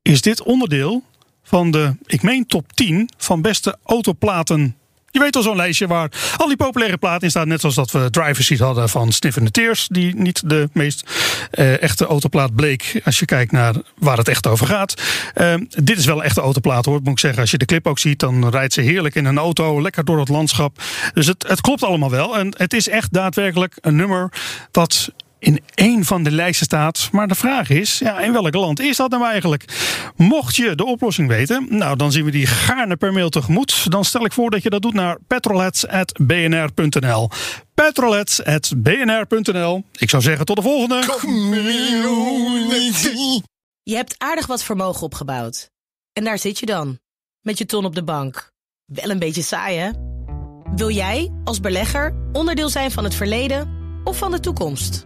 S7: is dit onderdeel van de, ik meen, top 10 van beste autoplaten? Je weet al zo'n lijstje waar al die populaire platen in staan. Net zoals dat we Driver's Seat hadden van Sniff and the Tears. Die niet de meest eh, echte autoplaat bleek. Als je kijkt naar waar het echt over gaat. Eh, dit is wel een echte autoplaat hoor, moet ik zeggen. Als je de clip ook ziet, dan rijdt ze heerlijk in een auto. Lekker door het landschap. Dus het, het klopt allemaal wel. En het is echt daadwerkelijk een nummer dat in één van de lijsten staat. Maar de vraag is, ja, in welk land is dat nou eigenlijk? Mocht je de oplossing weten, nou, dan zien we die gaarne per mail tegemoet. Dan stel ik voor dat je dat doet naar petrolheads.bnr.nl petrolheads.bnr.nl Ik zou zeggen, tot de volgende!
S8: Je hebt aardig wat vermogen opgebouwd. En daar zit je dan, met je ton op de bank. Wel een beetje saai, hè? Wil jij, als belegger, onderdeel zijn van het verleden of van de toekomst?